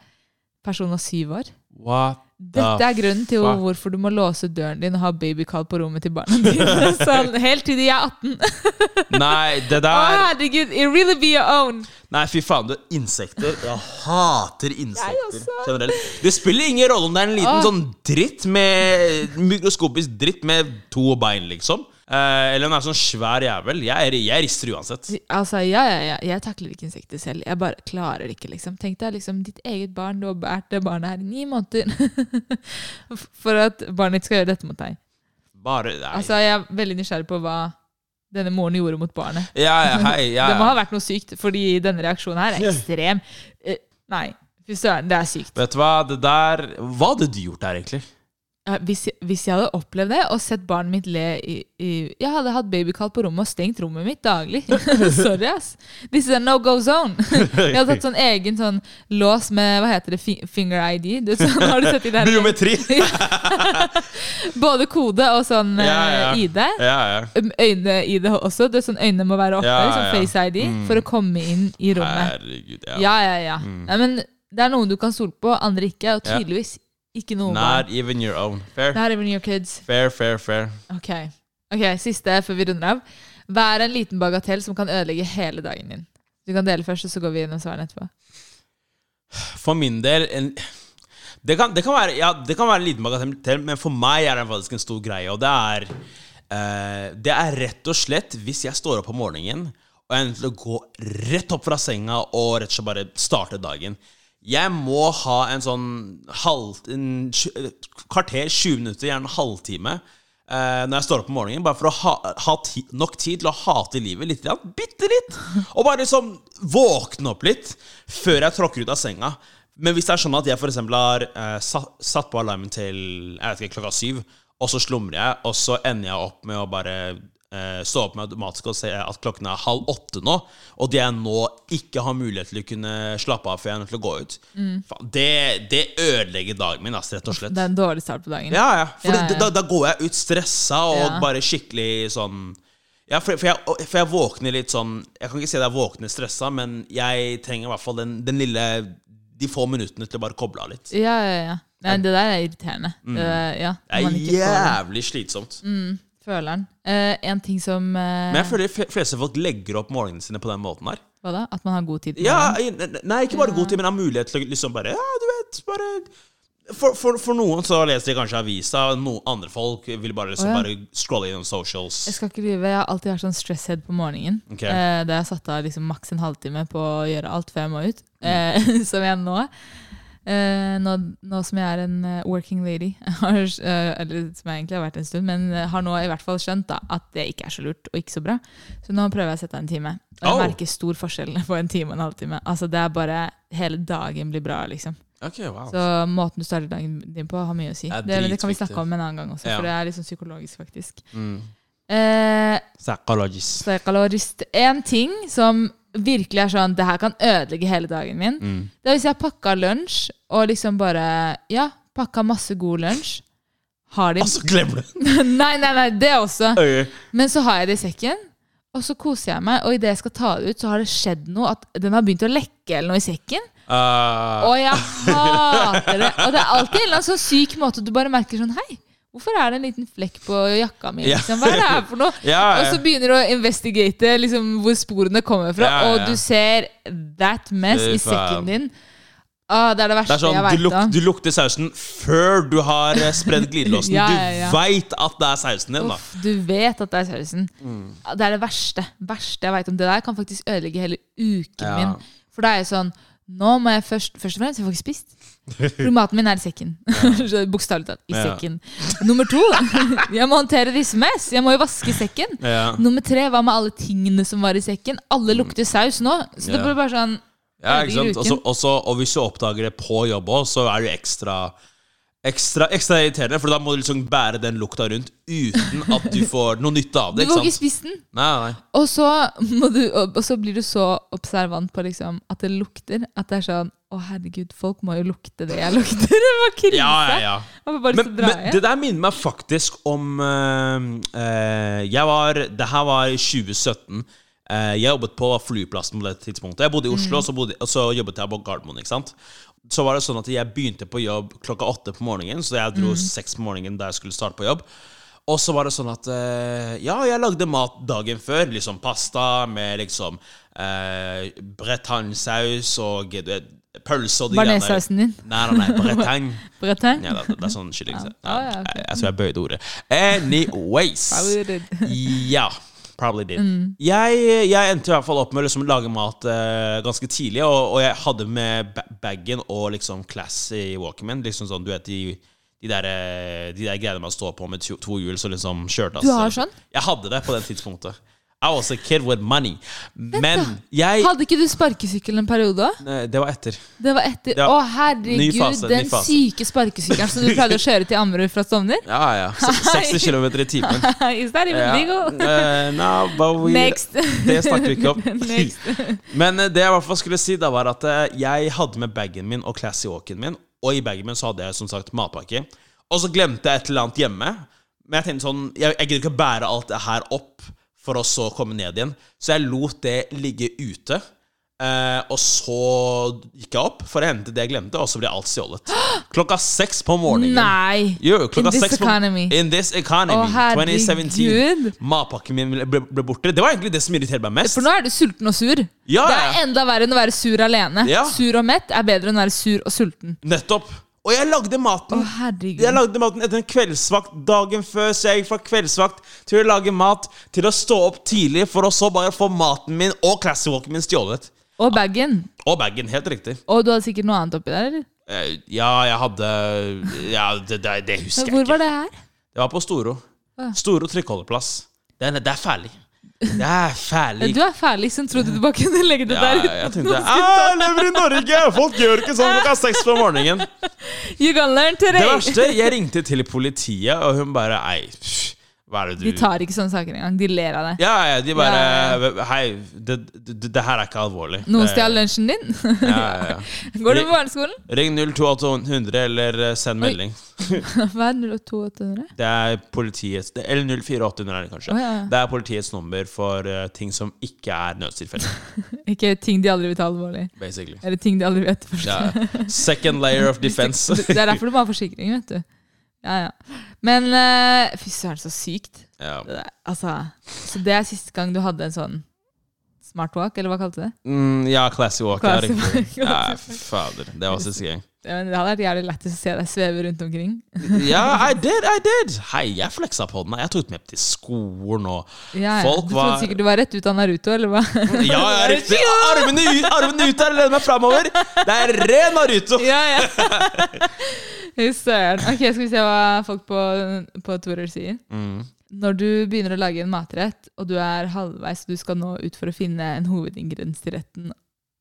Personen var syv år.
What
Dette er grunnen til
fuck?
hvorfor du må låse døren din og ha babycall på rommet til barna dine. Sånn, helt til de er 18.
Nei, det
Å,
der
herregud, it really be your own.
Nei, fy faen, du, insekter Jeg hater insekter
også.
generelt. Det spiller ingen rolle om det er en liten
Åh.
sånn dritt med Mikroskopisk dritt med to bein, liksom. Eh, eller en er sånn svær jævel. Jeg, er- jeg rister uansett.
Altså, ja, ja, ja. Jeg takler ikke insekter selv. Jeg bare klarer det ikke, liksom. Tenk deg liksom ditt eget barn. Du har båret det barnet her i ni måneder. For at barnet ditt skal gjøre dette mot deg.
Bare nei.
Altså, jeg er veldig nysgjerrig på hva denne moren gjorde mot barnet.
Ja, ja, hei, ja.
Det må
ja.
ha vært noe sykt, fordi denne reaksjonen her er ekstrem. Eh, Nei, fy søren, det er sykt.
Vet du hva, det der Hva hadde du gjort der, egentlig?
Ja, hvis, jeg- hvis jeg hadde opplevd det og sett barnet mitt le i, i Jeg hadde hatt babycall på rommet og stengt rommet mitt daglig. Sorry, ass. This is a no go zone. jeg hadde tatt sånn egen sånn lås med Hva heter det? fi- Finger ID? Du, vet sånn, har du sett i det her?
Biometri!
Både kode og sånn
Ja, ja.
eh, ID.
Ja, ja.
Um, Øyne-ID også. Det er sånn Øynene må være oppe,
Ja,
sånn
ja.
face ID, for å komme inn i rommet.
Herregud, ja. Mm.
Ja, ja, ja. Nei, men det er noen du kan stole på, andre ikke. Og
Ja.
tydeligvis ikke noen barn.
Not even your own. Fair,
Not even your kids.
fair, fair. fair.
Ok, Ok, siste før vi runder av. Vær en liten bagatell som kan ødelegge hele dagen din. Du kan dele først, og så går vi gjennom svarene etterpå.
For min del en, det, kan, det, kan være, ja, det kan være en liten bagatell, men for meg er det faktisk en stor greie. Og det er, eh, det er rett og slett hvis jeg står opp om morgenen og jeg er nødt til å gå rett opp fra senga og rett og slett bare starte dagen. Jeg må ha en sånn halv, en, tj- kvarter, 20 minutter, gjerne en halvtime. eh, når jeg står opp om morgenen, bare for å ha, ha ti, nok tid til å hate livet litt. grann, Bitte litt! Og bare liksom våkne opp litt før jeg tråkker ut av senga. Men hvis det er sånn at jeg f.eks. har eh, satt, satt på alarmen til jeg vet ikke, klokka syv, og så slumrer jeg, og så ender jeg opp med å bare eh, stå opp med automatisk og se at klokken er halv åtte nå, og det jeg nå ikke har mulighet til å kunne slappe av før jeg er nødt til å gå ut, faen, det, det ødelegger dagen min, ass, rett og slett.
Det er en dårlig start på dagen.
Ja, ja. For
Ja,
det-
ja.
Da, da går jeg ut stressa og
Ja.
bare skikkelig sånn ja, for, for, jeg, for jeg våkner litt sånn Jeg kan ikke si at jeg våkner stressa, men jeg trenger i hvert fall den, den lille De få minuttene til å bare koble av litt.
ja, ja. ja. Nei, det der er irriterende.
Mm.
Det, ja,
Det
når
er
man ikke får Mm.
jævlig slitsomt.
føler den. Eh, en ting som eh,
Men jeg føler de fl- fleste folk legger opp morgenene sine på den måten her.
Hva da? At man har god tid? på
Ja,
morgenen.
i- Nei, ikke bare god tid, men har mulighet til å liksom bare Ja, du vet, bare For, for, for noen så leser de kanskje avisa, og noen andre folk vil bare, liksom,
Å, ja.
bare scrolle innom socials.
Jeg skal ikke lyve, jeg har alltid vært sånn stresshead på morgenen.
Ok.
Eh, da jeg satte av liksom maks en halvtime på å gjøre alt før jeg må ut. Eh, som jeg nå. Eh, nå, nå som jeg er en eh, working lady, har, eh, eller som jeg egentlig har vært en stund, men eh, har nå i hvert fall skjønt da, at det ikke er så lurt og ikke så bra. Så nå prøver jeg å sette av en time. Og jeg
Oh.
merker stor forskjell på en time og en halvtime. Altså det er bare Hele dagen blir bra, liksom.
Ok, wow.
Så måten du starter dagen din på, har mye å si.
Det er
Det, men det kan
dritviktig.
vi snakke om en annen gang også,
Ja.
for det er litt sånn psykologisk, faktisk.
Mm.
Eh,
Psychologist.
så jeg kaller det rist. En ting som virkelig er sånn Det her kan ødelegge hele dagen min.
Mm.
Det er hvis jeg pakka lunsj, og liksom bare Ja, pakka masse god lunsj. Har de
Og så glemmer du
Nei, nei, nei, det også.
øyet!
Men så har jeg det i sekken, og så koser jeg meg. Og idet jeg skal ta det ut, så har det skjedd noe. At den har begynt å lekke eller noe i sekken.
Uh,
Og jeg hater det. Og det er alltid en eller annen sånn syk måte at du bare merker sånn Hei, hvorfor er det en liten flekk på jakka mi?
Ja.
Liksom? Hva er det her for noe?
ja,
Og så begynner du å investigate liksom, hvor sporene kommer fra,
Ja, ja, ja.
og du ser that mess
Fy
i
faen.
sekken din. Ah, det er det
det
verste
er sånn,
jeg
du,
veit
luk,
om.
du lukter sausen før du har eh, spredd glidelåsen.
Ja, ja, ja.
Du veit at det er sausen din, da.
Uff, du vet at det er sausen.
Mm.
Ah, Det er det verste. verste jeg vet om. Det der kan faktisk ødelegge hele uken
Ja.
min. For da er jeg sånn Nå må jeg først Først og fremst, jeg får ikke spist. For maten min er i sekken. Så Bokstavelig talt. I
Ja.
sekken. Nummer to, jeg må håndtere rissemess. Jeg må jo vaske sekken.
Ja. Mm.
Nummer tre, hva med alle tingene som var i sekken? Alle lukter saus nå. Så det
Ja.
blir bare sånn
Ja, ikke
Ødelegger
sant? Også,
uken.
også, og hvis du oppdager det på jobb òg, så er du ekstra Ekstra, ekstra irriterende, for da må du liksom bære den lukta rundt uten at du får noe nytte av
Du
det.
får
ikke
ikke
sant?
spist den.
Nei, nei.
Og så, må du, og og så blir du så observant på liksom, at det lukter. At det er sånn Å, herregud, folk må jo lukte det jeg lukter. Det var krise.
Ja, ja, ja.
Jeg får bare lyst
Men,
til å dra
men
hjem.
det der minner meg faktisk om eh, eh, Jeg var Det her var i 2017. Eh, jeg jobbet på flyplassen på det tidspunktet. Jeg bodde i
Mm.
Oslo, og så, bodde, og så jobbet jeg på Gardermoen. ikke sant? Så var det sånn at jeg begynte på jobb klokka åtte på morgenen, så jeg
Mm.
dro seks på morgenen da jeg skulle starte på jobb. Og så var det sånn at eh, Ja, jeg lagde mat dagen før. Liksom pasta med liksom eh, bretagne-saus og du vet, pølse og de greiene der.
Bearnéssausen din.
Nei, nei, nei. Bretagne.
Bretagne.
Ja, det, det er sånn kylling. så-
Ja. Ah, ja,
ja,
ok.
jeg, jeg tror jeg bøyde ordet. Anyways.
Probably did. Mm.
ja. Probably did. Jeg, jeg endte i hvert fall opp med å liksom lage mat eh, ganske tidlig, og, og jeg hadde med ba- bagen og liksom classy walkman. Liksom sånn, du vet, de, de, der, eh, de der greiene man står på med to, to hjul, så liksom kjørte
Du har sånn?
Jeg hadde det på det tidspunktet. I was a kid with money. Men jeg
Hadde ikke du sparkesykkel en periode òg?
Nei, Det var etter.
Det var etter
Ja.
Å, herregud,
Ny fase,
den
ny fase.
syke sparkesykkelen som du pleide å kjøre til Ammerud fra Stovner?
Ja, ja. Se- 60 km i timen.
Is that even legal?
eh, no, but we,
Next.
Det snakker vi ikke
Next.
om. Men eh, det jeg i hvert fall skulle si, da var at eh, jeg hadde med bagen min og classy walken min, og i bagen min så hadde jeg som sagt matpakke. Og så glemte jeg et eller annet hjemme. Men jeg tenkte sånn, jeg, jeg gidder ikke å bære alt det her opp for å så komme ned igjen. Så jeg lot det ligge ute. eh, og så gikk jeg opp for å hente det jeg glemte, og så ble alt stjålet. Klokka seks på morgenen.
Nei!
Jo, klokka
In this
seks på-
economy.
In this economy.
Å, herregud.
2017. Matpakken min ble, ble borte. Det var egentlig det som irriterte meg mest.
For nå er du sulten og sur.
Ja,
det
ja.
er enda verre enn å være sur alene.
Ja.
Sur og mett er bedre enn å være sur og sulten.
Nettopp. Og jeg lagde maten.
Å, herregud.
jeg lagde maten etter en kveldsvakt dagen før, så jeg gikk fra kveldsvakt til å lage mat, til å stå opp tidlig for å så bare få maten min og classy walken min stjålet.
Og bagen.
Og bagen. Helt riktig.
Og du hadde sikkert noe annet oppi der, eller?
Eh, Ja, jeg hadde Ja, det, det, det husker jeg
Men hvor
ikke.
var det her?
Det var på Storo.
Ja.
Storo trykkholdeplass. Det er, det er ferdig. Det er ferdig.
Du er ferdig, som trodde du bare kunne legge det
Ja,
der
jeg
uten
tenkte Ah!
at noen skulle ta
Jeg lever i Norge! Folk gjør ikke sånn klokka seks på morgenen.
det. You gonna learn
Det
today!
verste, jeg ringte til politiet, og hun bare Ei, pff, hva er det du
De tar ikke sånne saker engang. De ler av deg.
Ja, ja, de bare
Ja,
Hei, det, det, det her er ikke alvorlig.
Noen
Det-
stjal lunsjen din.
Ja, ja, ja.
Går du på barneskolen?
Ring 02800 eller eh, send
Oi.
melding.
Hva er 02800?
Det er politiets det- Eller 04800 er det kanskje.
Å, ja, ja.
Det er politiets nummer for eh, ting som ikke er nødstilfeller,
Ikke ting de aldri vil ta alvorlig.
basically.
Eller ting de aldri vil etterforske.
Ja. Second layer of defense.
Det er derfor du må ha forsikring, vet du. Ja, ja. Men eh, fy søren, så sykt.
Ja.
Det der, Altså, så det er siste gang du hadde en sånn smart walk, eller hva kalte du det?
Mm, ja, classy walk.
Classy
ja, riktig.
walk.
Ja, fader. Det var siste gang.
Men det hadde vært jævlig lættis å se deg sveve rundt omkring.
Ja, I did, I did! Hei, jeg fleksa på den. her. Jeg tok den med til skolen og
Ja, ja.
Folk
du
var-
trodde sikkert du var rett ut av Naruto, eller hva?
Ja, ja, riktig! Armene, ut- armene ut der, lener meg framover! Det er ren Naruto!
ja, ja. Fy Søren. Ok, skal vi se hva folk på, på Twitter sier.
Mm.
Når du begynner å lage en matrett, og du er halvveis, og du skal nå ut for å finne en hovedingrediens til retten,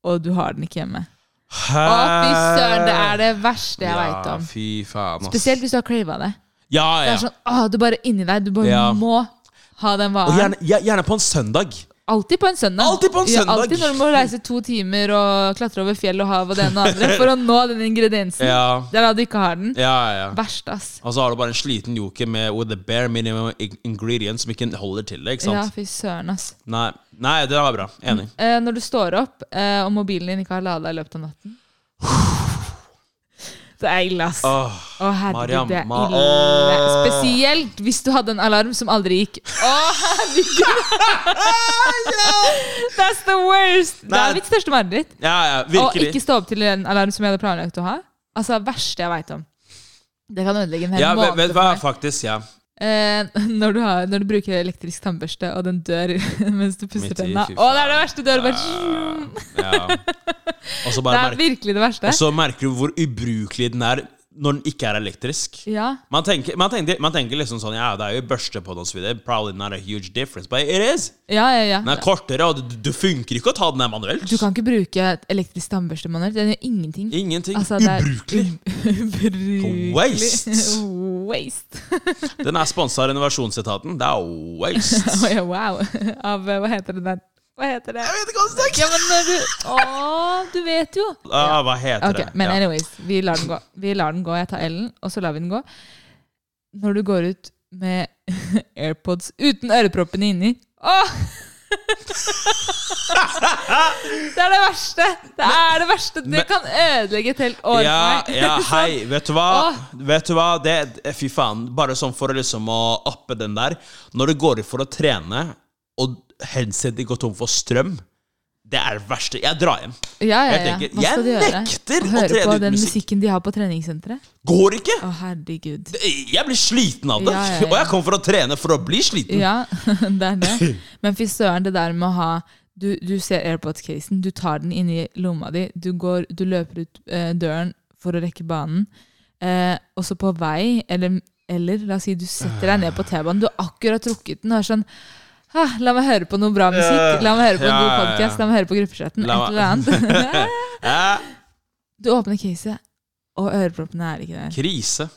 og du har den ikke hjemme. Å, fy søren, det er det verste jeg vet veit om.
Ja, fy faen, ass.
Spesielt hvis du har crava det.
Ja,
Det
ja.
er sånn, å, du bare inni deg, du bare
Ja.
må ha den
Og
varen.
gjerne, ja, gjerne på en søndag.
Alltid på en søndag.
Alltid på en
Ja,
søndag.
alltid når du må reise to timer og klatre over fjell og hav og det ene og andre for å nå den ingrediensen.
Ja.
Det er da du ikke har den.
Ja, ja.
Verst, ass.
Og så har du bare en sliten joker med with the bare minimum ing- ingredients som ikke holder til det. ikke sant?
Ja, fy søren, ass.
Nei, Nei, det var bra. Enig.
Eh, når du står opp, eh, og mobilen din ikke har lada i løpet av natten Det er ille, ass. Å,
Åh, Mariam,
herregud, det er
ma-
ille.
Åh.
Spesielt hvis du hadde en alarm som aldri gikk. Å, herregud! That's the worst! Det
Nei.
er mitt største mareritt.
ja, ja,
Å
virkelig.
ikke stå opp til en alarm som jeg hadde planlagt å ha. Altså, verste jeg veit om. Det kan ødelegge en hel
Ja, vet,
måned.
vet du
for
hva,
meg.
faktisk, ja.
Eh, når, du har, når du bruker elektrisk tannbørste, og den dør mens du pusser
Midt i,
tenna.
fy
Å, det er det verste! Dør bare Mm,
ja. Og så
Det
bare
er
merker,
virkelig det verste.
og så merker du hvor ubrukelig den er når den ikke er elektrisk.
Ja.
Man tenker, man, tenker, man tenker liksom sånn Ja, det er jo børste på den og så videre. Probably not a huge difference, but it is.
Ja, ja, ja.
Den er kortere, og du, du funker ikke å ta den der manuelt.
Du kan ikke bruke et elektrisk tannbørste, Manuel. Den gjør ingenting.
Ingenting.
Altså, det er
Ubrukelig.
Ubrukelig.
Waste.
Waste.
Den er sponsa av renovasjonsetaten. Det er waste.
Å, ja, wow. Av eh, Hva heter det der? Hva heter det?
Jeg vet ikke hva som
Ja, men når du Å, du vet jo.
ah, Hva heter
Ok,
det?
Men
ja.
anyways, vi lar den gå. Vi lar den gå. Jeg tar L-en, og så lar vi den gå. Når du går ut med AirPods uten øreproppene inni Åh! Det er det verste! Det er det verste. Det
Men-
kan ødelegge et helt år
ja,
for meg.
ja, hei, vet du hva?
Åh.
Vet du hva? Det, eh, fy faen. Bare sånn for å liksom å uppe den der. Når du går ut for å trene, og headsetet går tom for strøm, det er det verste. Jeg drar hjem.
Ja, ja,
Helt
ja.
enkelt.
Hva
Jeg
skal du gjøre?
nekter å
Høre
trene
på
uten
den
musikk.
musikken de har på treningssenteret?
Går ikke!
Å, herregud.
Jeg blir sliten av det.
Ja, ja, ja.
Og jeg kom for å trene for å bli sliten.
Ja, det er det. Men fy søren, det der med å ha Du, du ser AirPods-casen, du tar den inni lomma di, du, går, du løper ut eh, døren for å rekke banen, eh, og så på vei, eller, eller la oss si du setter deg ned på T-banen, du har akkurat trukket den, og er sånn «Ah, La meg høre på noe bra musikk, la meg høre på en
Ja,
god
ja, ja.
podkast, la meg høre på gruppechatten,
La
et eller annet.
Eh,
Du åpner caset, og øreproppene er ikke der.
krise.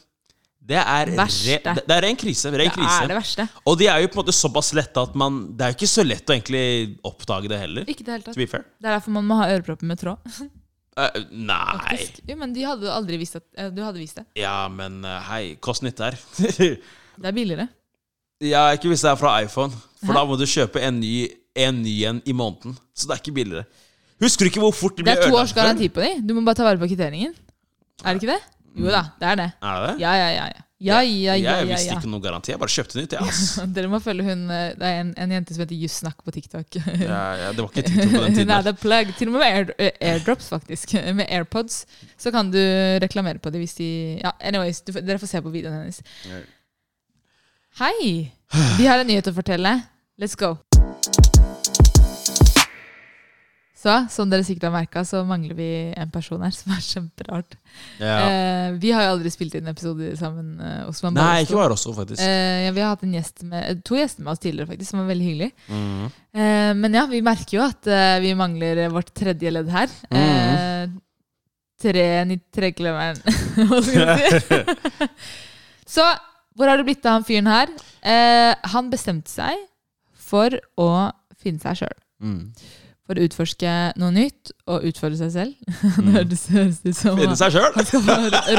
Det er, re,
Verste.
det det er ren krise. Ren
Det er
krise.
det verste.
Og de er jo på en måte såpass lette at man Det er jo ikke så lett å egentlig oppdage det heller.
Ikke i det hele
To
tatt.
be fair.
Det er derfor man må ha ørepropper med tråd.
Eh, nei
faktisk. Jo, men de hadde jo aldri visst at eh, Du hadde visst det.
Ja, men eh, hei, kost nytt der. ja,
Det er billigere.
ikke hvis det er fra iPhone, for da må du kjøpe en ny en ny en i måneden. Så det er ikke billigere. Husker du ikke hvor fort det
Det
ble
er to
ødelagt?
års
før?
garanti på de. Du må bare ta vare på kvitteringen. Er det ikke det? Jo da, det er det.
Er det det?
Ja, ja, ja. ja. Ja, ja, ja,
jeg
ja,
visste
ja.
ikke noe garanti. Jeg bare kjøpte nytt, jeg, ass.
Dere må følge hun eh, Det er en, en jente som heter Jussnak på TikTok.
Ja, ja, det var ikke TikTok på den
Hun
tiden.
er
her.
the plug. Til og med med air, eh, airdrops, faktisk. Med AirPods. Så kan du reklamere på det hvis de Ja, anyways, du, får- dere får se på videoen hennes. Hei! Vi har en nyhet å fortelle. Let's go. Så, som dere sikkert har merka, så mangler vi en person her, som er kjemperart.
Ja.
Eh, vi har jo aldri spilt inn episoder sammen, eh, Osman.
Nei,
bare
ikke
to.
bare også, faktisk.
Eh, ja, vi har hatt en gjest med, to gjester med oss tidligere, faktisk, som var veldig hyggelig.
Mm.
Eh, men ja, vi merker jo at eh, vi mangler vårt tredje ledd her.
Mm.
Eh, tre ni- trekløveren, hva skal vi si. Så hvor har det blitt av han fyren her? Eh, han bestemte seg for å finne seg sjøl.
Mm.
For å utforske noe nytt og utfordre seg selv. det høres høres ut som
Mm. Finne seg sjøl!
skal på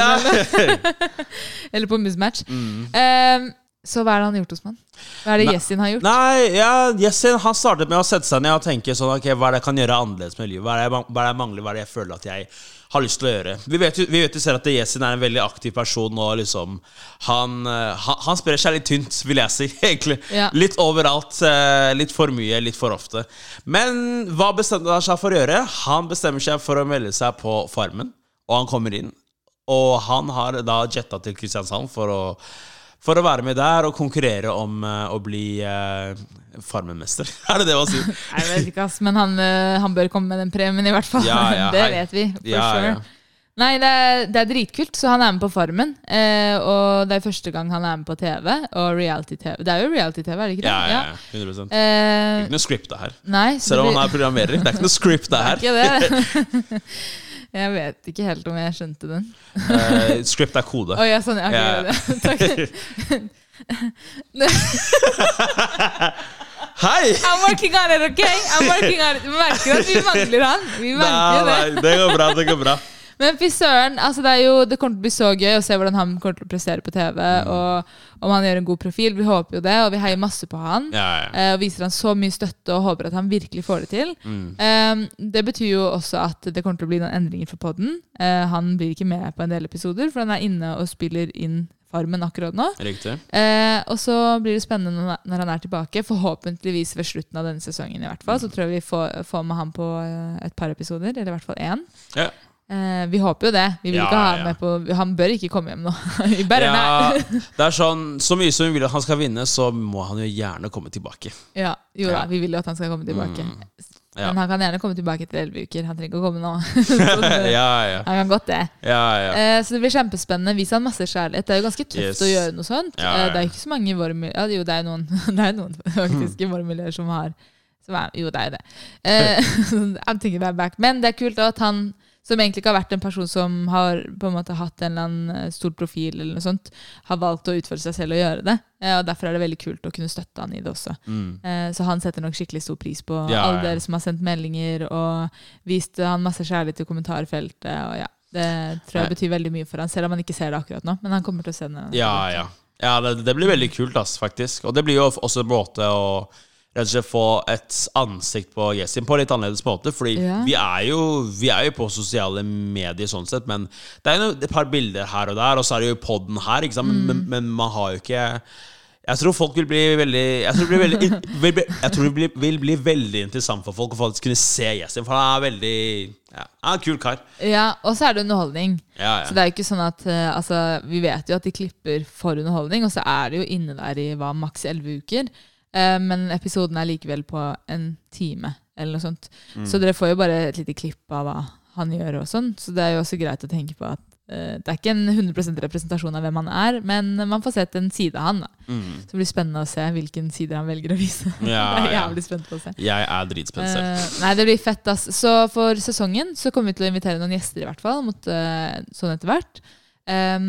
Ja. Mm.
eller? Eller på Musmatch. Ehm, så hva er det han har gjort hos mann? Hva er det
Nei.
Yesin har gjort?
Nei, ja, Jessin han startet med å sette seg ned og tenke sånn Ok, hva er det jeg kan gjøre annerledes med livet? Hva er det jeg, man- hva er det jeg mangler? Hva er det jeg føler at jeg har lyst til å gjøre? Vi vet jo, vi vet jo selv at Jessin er en veldig aktiv person, og liksom Han, eh, han, han sprer seg litt tynt, vil jeg si, egentlig.
Ja.
Litt overalt. eh, Litt for mye, litt for ofte. Men hva bestemte han seg for å gjøre? Han bestemmer seg for å melde seg på Farmen. Og han kommer inn, og han har da jetta til Kristiansand for å, for å være med der og konkurrere om eh, å bli eh, Farmen-mester. er det det man sier?
Nei, Jeg vet ikke, ass, men han, eh, han bør komme med den premien, i hvert fall.
Ja, ja,
det
hei.
vet vi. For
Ja,
sure.
ja.
Nei, det er, det er dritkult, så han er med på Farmen. Eh, og det er første gang han er med på TV, og reality-TV. Det er jo reality-TV, er det ikke det?
Ja, ja, ja. 100 Det er
Eh,
Ikke noe script det her.
nei, så
Selv om
det
han er programmerer. Det er ikke noe script det her.
blir ikke det. jeg vet ikke helt om jeg skjønte den.
Eh, script er
Å
kode.
ja, sånn. Ja,
Ja,
ok,
ja.
Takk.
Hei!
I'm working on it, OK? I'm working on it. Vi merker at vi mangler han. Vi merker det.
Nei, nei, det går bra, det går bra.
Men fy søren, altså det, er jo, det kommer til å bli så gøy å se hvordan han kommer til å prestere på TV. Og om han gjør en god profil. Vi håper jo det, og vi heier masse på han.
Ja, ja.
eh, Og viser han så mye støtte og håper at han virkelig får det til. Eh, Det betyr jo også at det kommer til å bli noen endringer for podden. Eh, Han blir ikke med på en del episoder, for han er inne og spiller inn Farmen akkurat nå.
Riktig.
Eh, og så blir det spennende når- når han er tilbake, forhåpentligvis ved slutten av denne sesongen. i hvert fall, Så tror jeg vi får, får med han på eh, et par episoder, eller i hvert fall én.
Ja.
Eh, vi håper jo det. Vi vil
Ja,
ikke ha ham
ja.
med på Han bør ikke komme hjem nå. Vi bare,
Ja,
nei.
det er sånn, Så mye som vi vil at han skal vinne, så må han jo gjerne komme tilbake.
ja, jo
Ja.
da,
Mm.
vi vil jo at han skal komme tilbake.
Ja.
Men han kan gjerne komme tilbake etter elleve uker. Han trenger ikke å komme nå.
ja, ja,
Han kan godt det.
ja, ja.
Eh, så det blir kjempespennende. Vis han masse kjærlighet. Det er jo ganske tøft
Yes.
å gjøre noe sånt.
Ja, ja,
Eh, det er
ja.
jo ikke så mange i våre miljøer ja, Jo, det er jo noen, det er noen faktisk i våre miljøer som har som er, Jo, det er jo det. Eh, I'm thinking about back. Men det er kult også at han, som egentlig ikke har vært en person som har på en måte hatt en eller annen eh, stor profil, eller noe sånt, har valgt å utfordre seg selv og gjøre det. Eh, og Derfor er det veldig kult å kunne støtte han i det også. Eh, så han setter nok skikkelig stor pris på
Mm. Ja,
alle
ja.
dere som har sendt meldinger, og vist han masse kjærlighet i kommentarfeltet. og ja. Det tror jeg
Nei.
betyr veldig mye for han, selv om han ikke ser det akkurat nå. Men han kommer til å se det.
ja, ja. ja det, det blir veldig kult, ass, faktisk. Og det blir jo også en måte å rett og slett få et ansikt på Yesin på litt annerledes måte. Fordi
Ja.
vi, er jo, vi er jo på sosiale medier sånn sett, men det er jo et par bilder her og der, og så er det jo podden her, ikke sant? Men,
Mm.
men, men man har jo ikke jeg tror folk vil bli veldig Jeg tror det blir veldig, vil bli, jeg tror det blir, vil bli veldig interessant for folk å faktisk kunne se Yesin, for han er veldig ja, Han er en kul kar.
Ja, Og så er det underholdning.
Ja, ja.
Så det er jo ikke sånn at eh, altså, Vi vet jo at de klipper for underholdning, og så er det jo inne der i hva, maks elleve uker. Eh, men episoden er likevel på en time, eller noe sånt.
Mm.
Så dere får jo bare et lite klipp av hva han gjør og sånn. Så det er jo også greit å tenke på at eh, det er ikke en 100 representasjon av hvem han er, men man får sett en side av han. da.
Mm.
Så det blir spennende å se hvilken side han velger å vise.
Ja,
det er
ja.
jævlig spent på å se.
Jeg er dritspent selv.
Eh, nei, det blir fett, ass. Så for sesongen så kommer vi til å invitere noen gjester, i hvert fall. Mot, eh, sånn etter hvert. Em,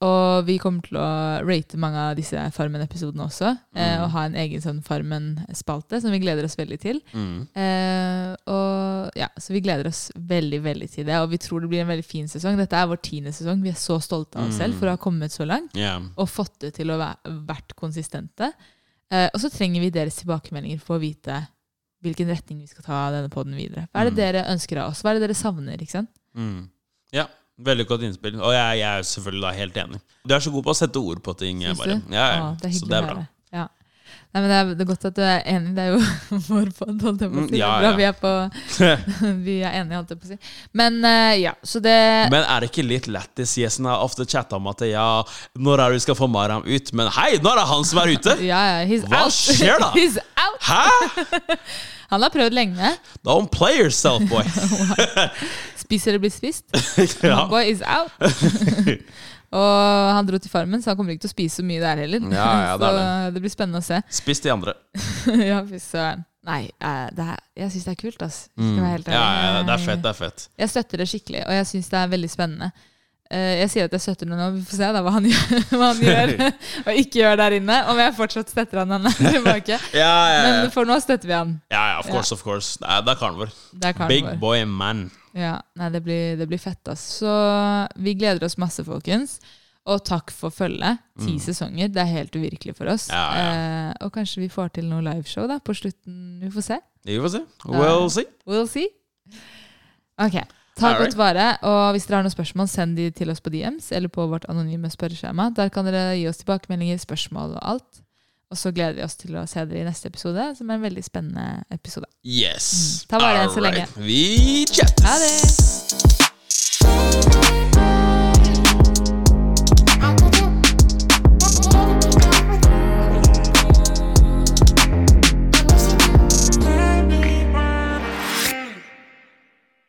og vi kommer til å rate mange av disse Farmen-episodene også. eh,
Mm.
Og ha en egen sånn Farmen-spalte som vi gleder oss veldig til.
Mm.
Eh, og ja, Så vi gleder oss veldig veldig til det. Og vi tror det blir en veldig fin sesong. Dette er vår tiende sesong. Vi er så stolte av oss selv for å ha
Mm.
kommet så langt
Ja.
og fått det til å være, vært konsistente. Eh, og så trenger vi deres tilbakemeldinger for å vite hvilken retning vi skal ta denne podden videre. Hva er det dere ønsker av oss? Hva er det dere savner? ikke sant?
Mm. Ja, veldig godt innspill. Og jeg, jeg er selvfølgelig da helt enig. Du er så god på å sette ord på ting.
Syns
bare.
du?
Ja, ja.
Å, det er
så
hyggelig
det
å
er bra.
høre. Ja. Nei, men det, er, det er godt at du er enig. Det er jo vår podd, holdt jeg på å
Mm,
si. Det er
ja,
bra
ja.
Vi, er på, vi er enige, holdt jeg på å si. Men eh, ja, så det
Men er det ikke litt lættis? Jesen har ofte chatta om at ja, når er det vi skal få Maram ut? Men hei, nå er det han som er ute!
ja, ja, he's
Hva
out.
skjer da?
he's out!
Hæ?
Han har prøvd lenge.
Don't play yourself, boy!
Spiser eller blir spist.
ja.
Homeboy is out. og han dro til Farmen, så han kommer ikke til å spise så mye der heller.
Ja, ja, det er
Så det blir spennende å se.
Spis de andre.
ja, fy søren. Nei, eh, det er, jeg syns det er kult, ass. Skal jeg være helt
Mm. Ja, ja,
ærlig.
det er fett, det er fett.
Jeg støtter det skikkelig, og jeg syns det er veldig spennende. Eh, jeg sier at jeg støtter det nå, vi får se da hva han gjør, hva han gjør og ikke gjør der inne. Om jeg fortsatt støtter han når han er tilbake.
Ja, ja, ja.
Men for nå støtter vi han.
ja, ja of course, of course. Det er, det er karen vår.
Det er karen
Big
vår.
boy man.
Ja, nei, det blir, det blir fett, ass. Så vi gleder oss masse, folkens. Og takk for følget. Ti sesonger, det er helt uvirkelig for oss.
Mm. Ja,
Eh, og kanskje vi får til noe liveshow da, på slutten. Vi får se.
Vi får se. We'll see.
We'll see. Ok, ta
Alright.
godt vare. Og hvis dere har noen spørsmål, send de til oss på DMs eller på vårt anonyme spørreskjema. Der kan dere gi oss tilbakemeldinger, spørsmål og alt. Og så gleder vi oss til å se dere i neste episode, som er en veldig spennende episode.
Yes.
Mm. Ta vare så
Alright.
lenge.
Vi chattes.
Ha det!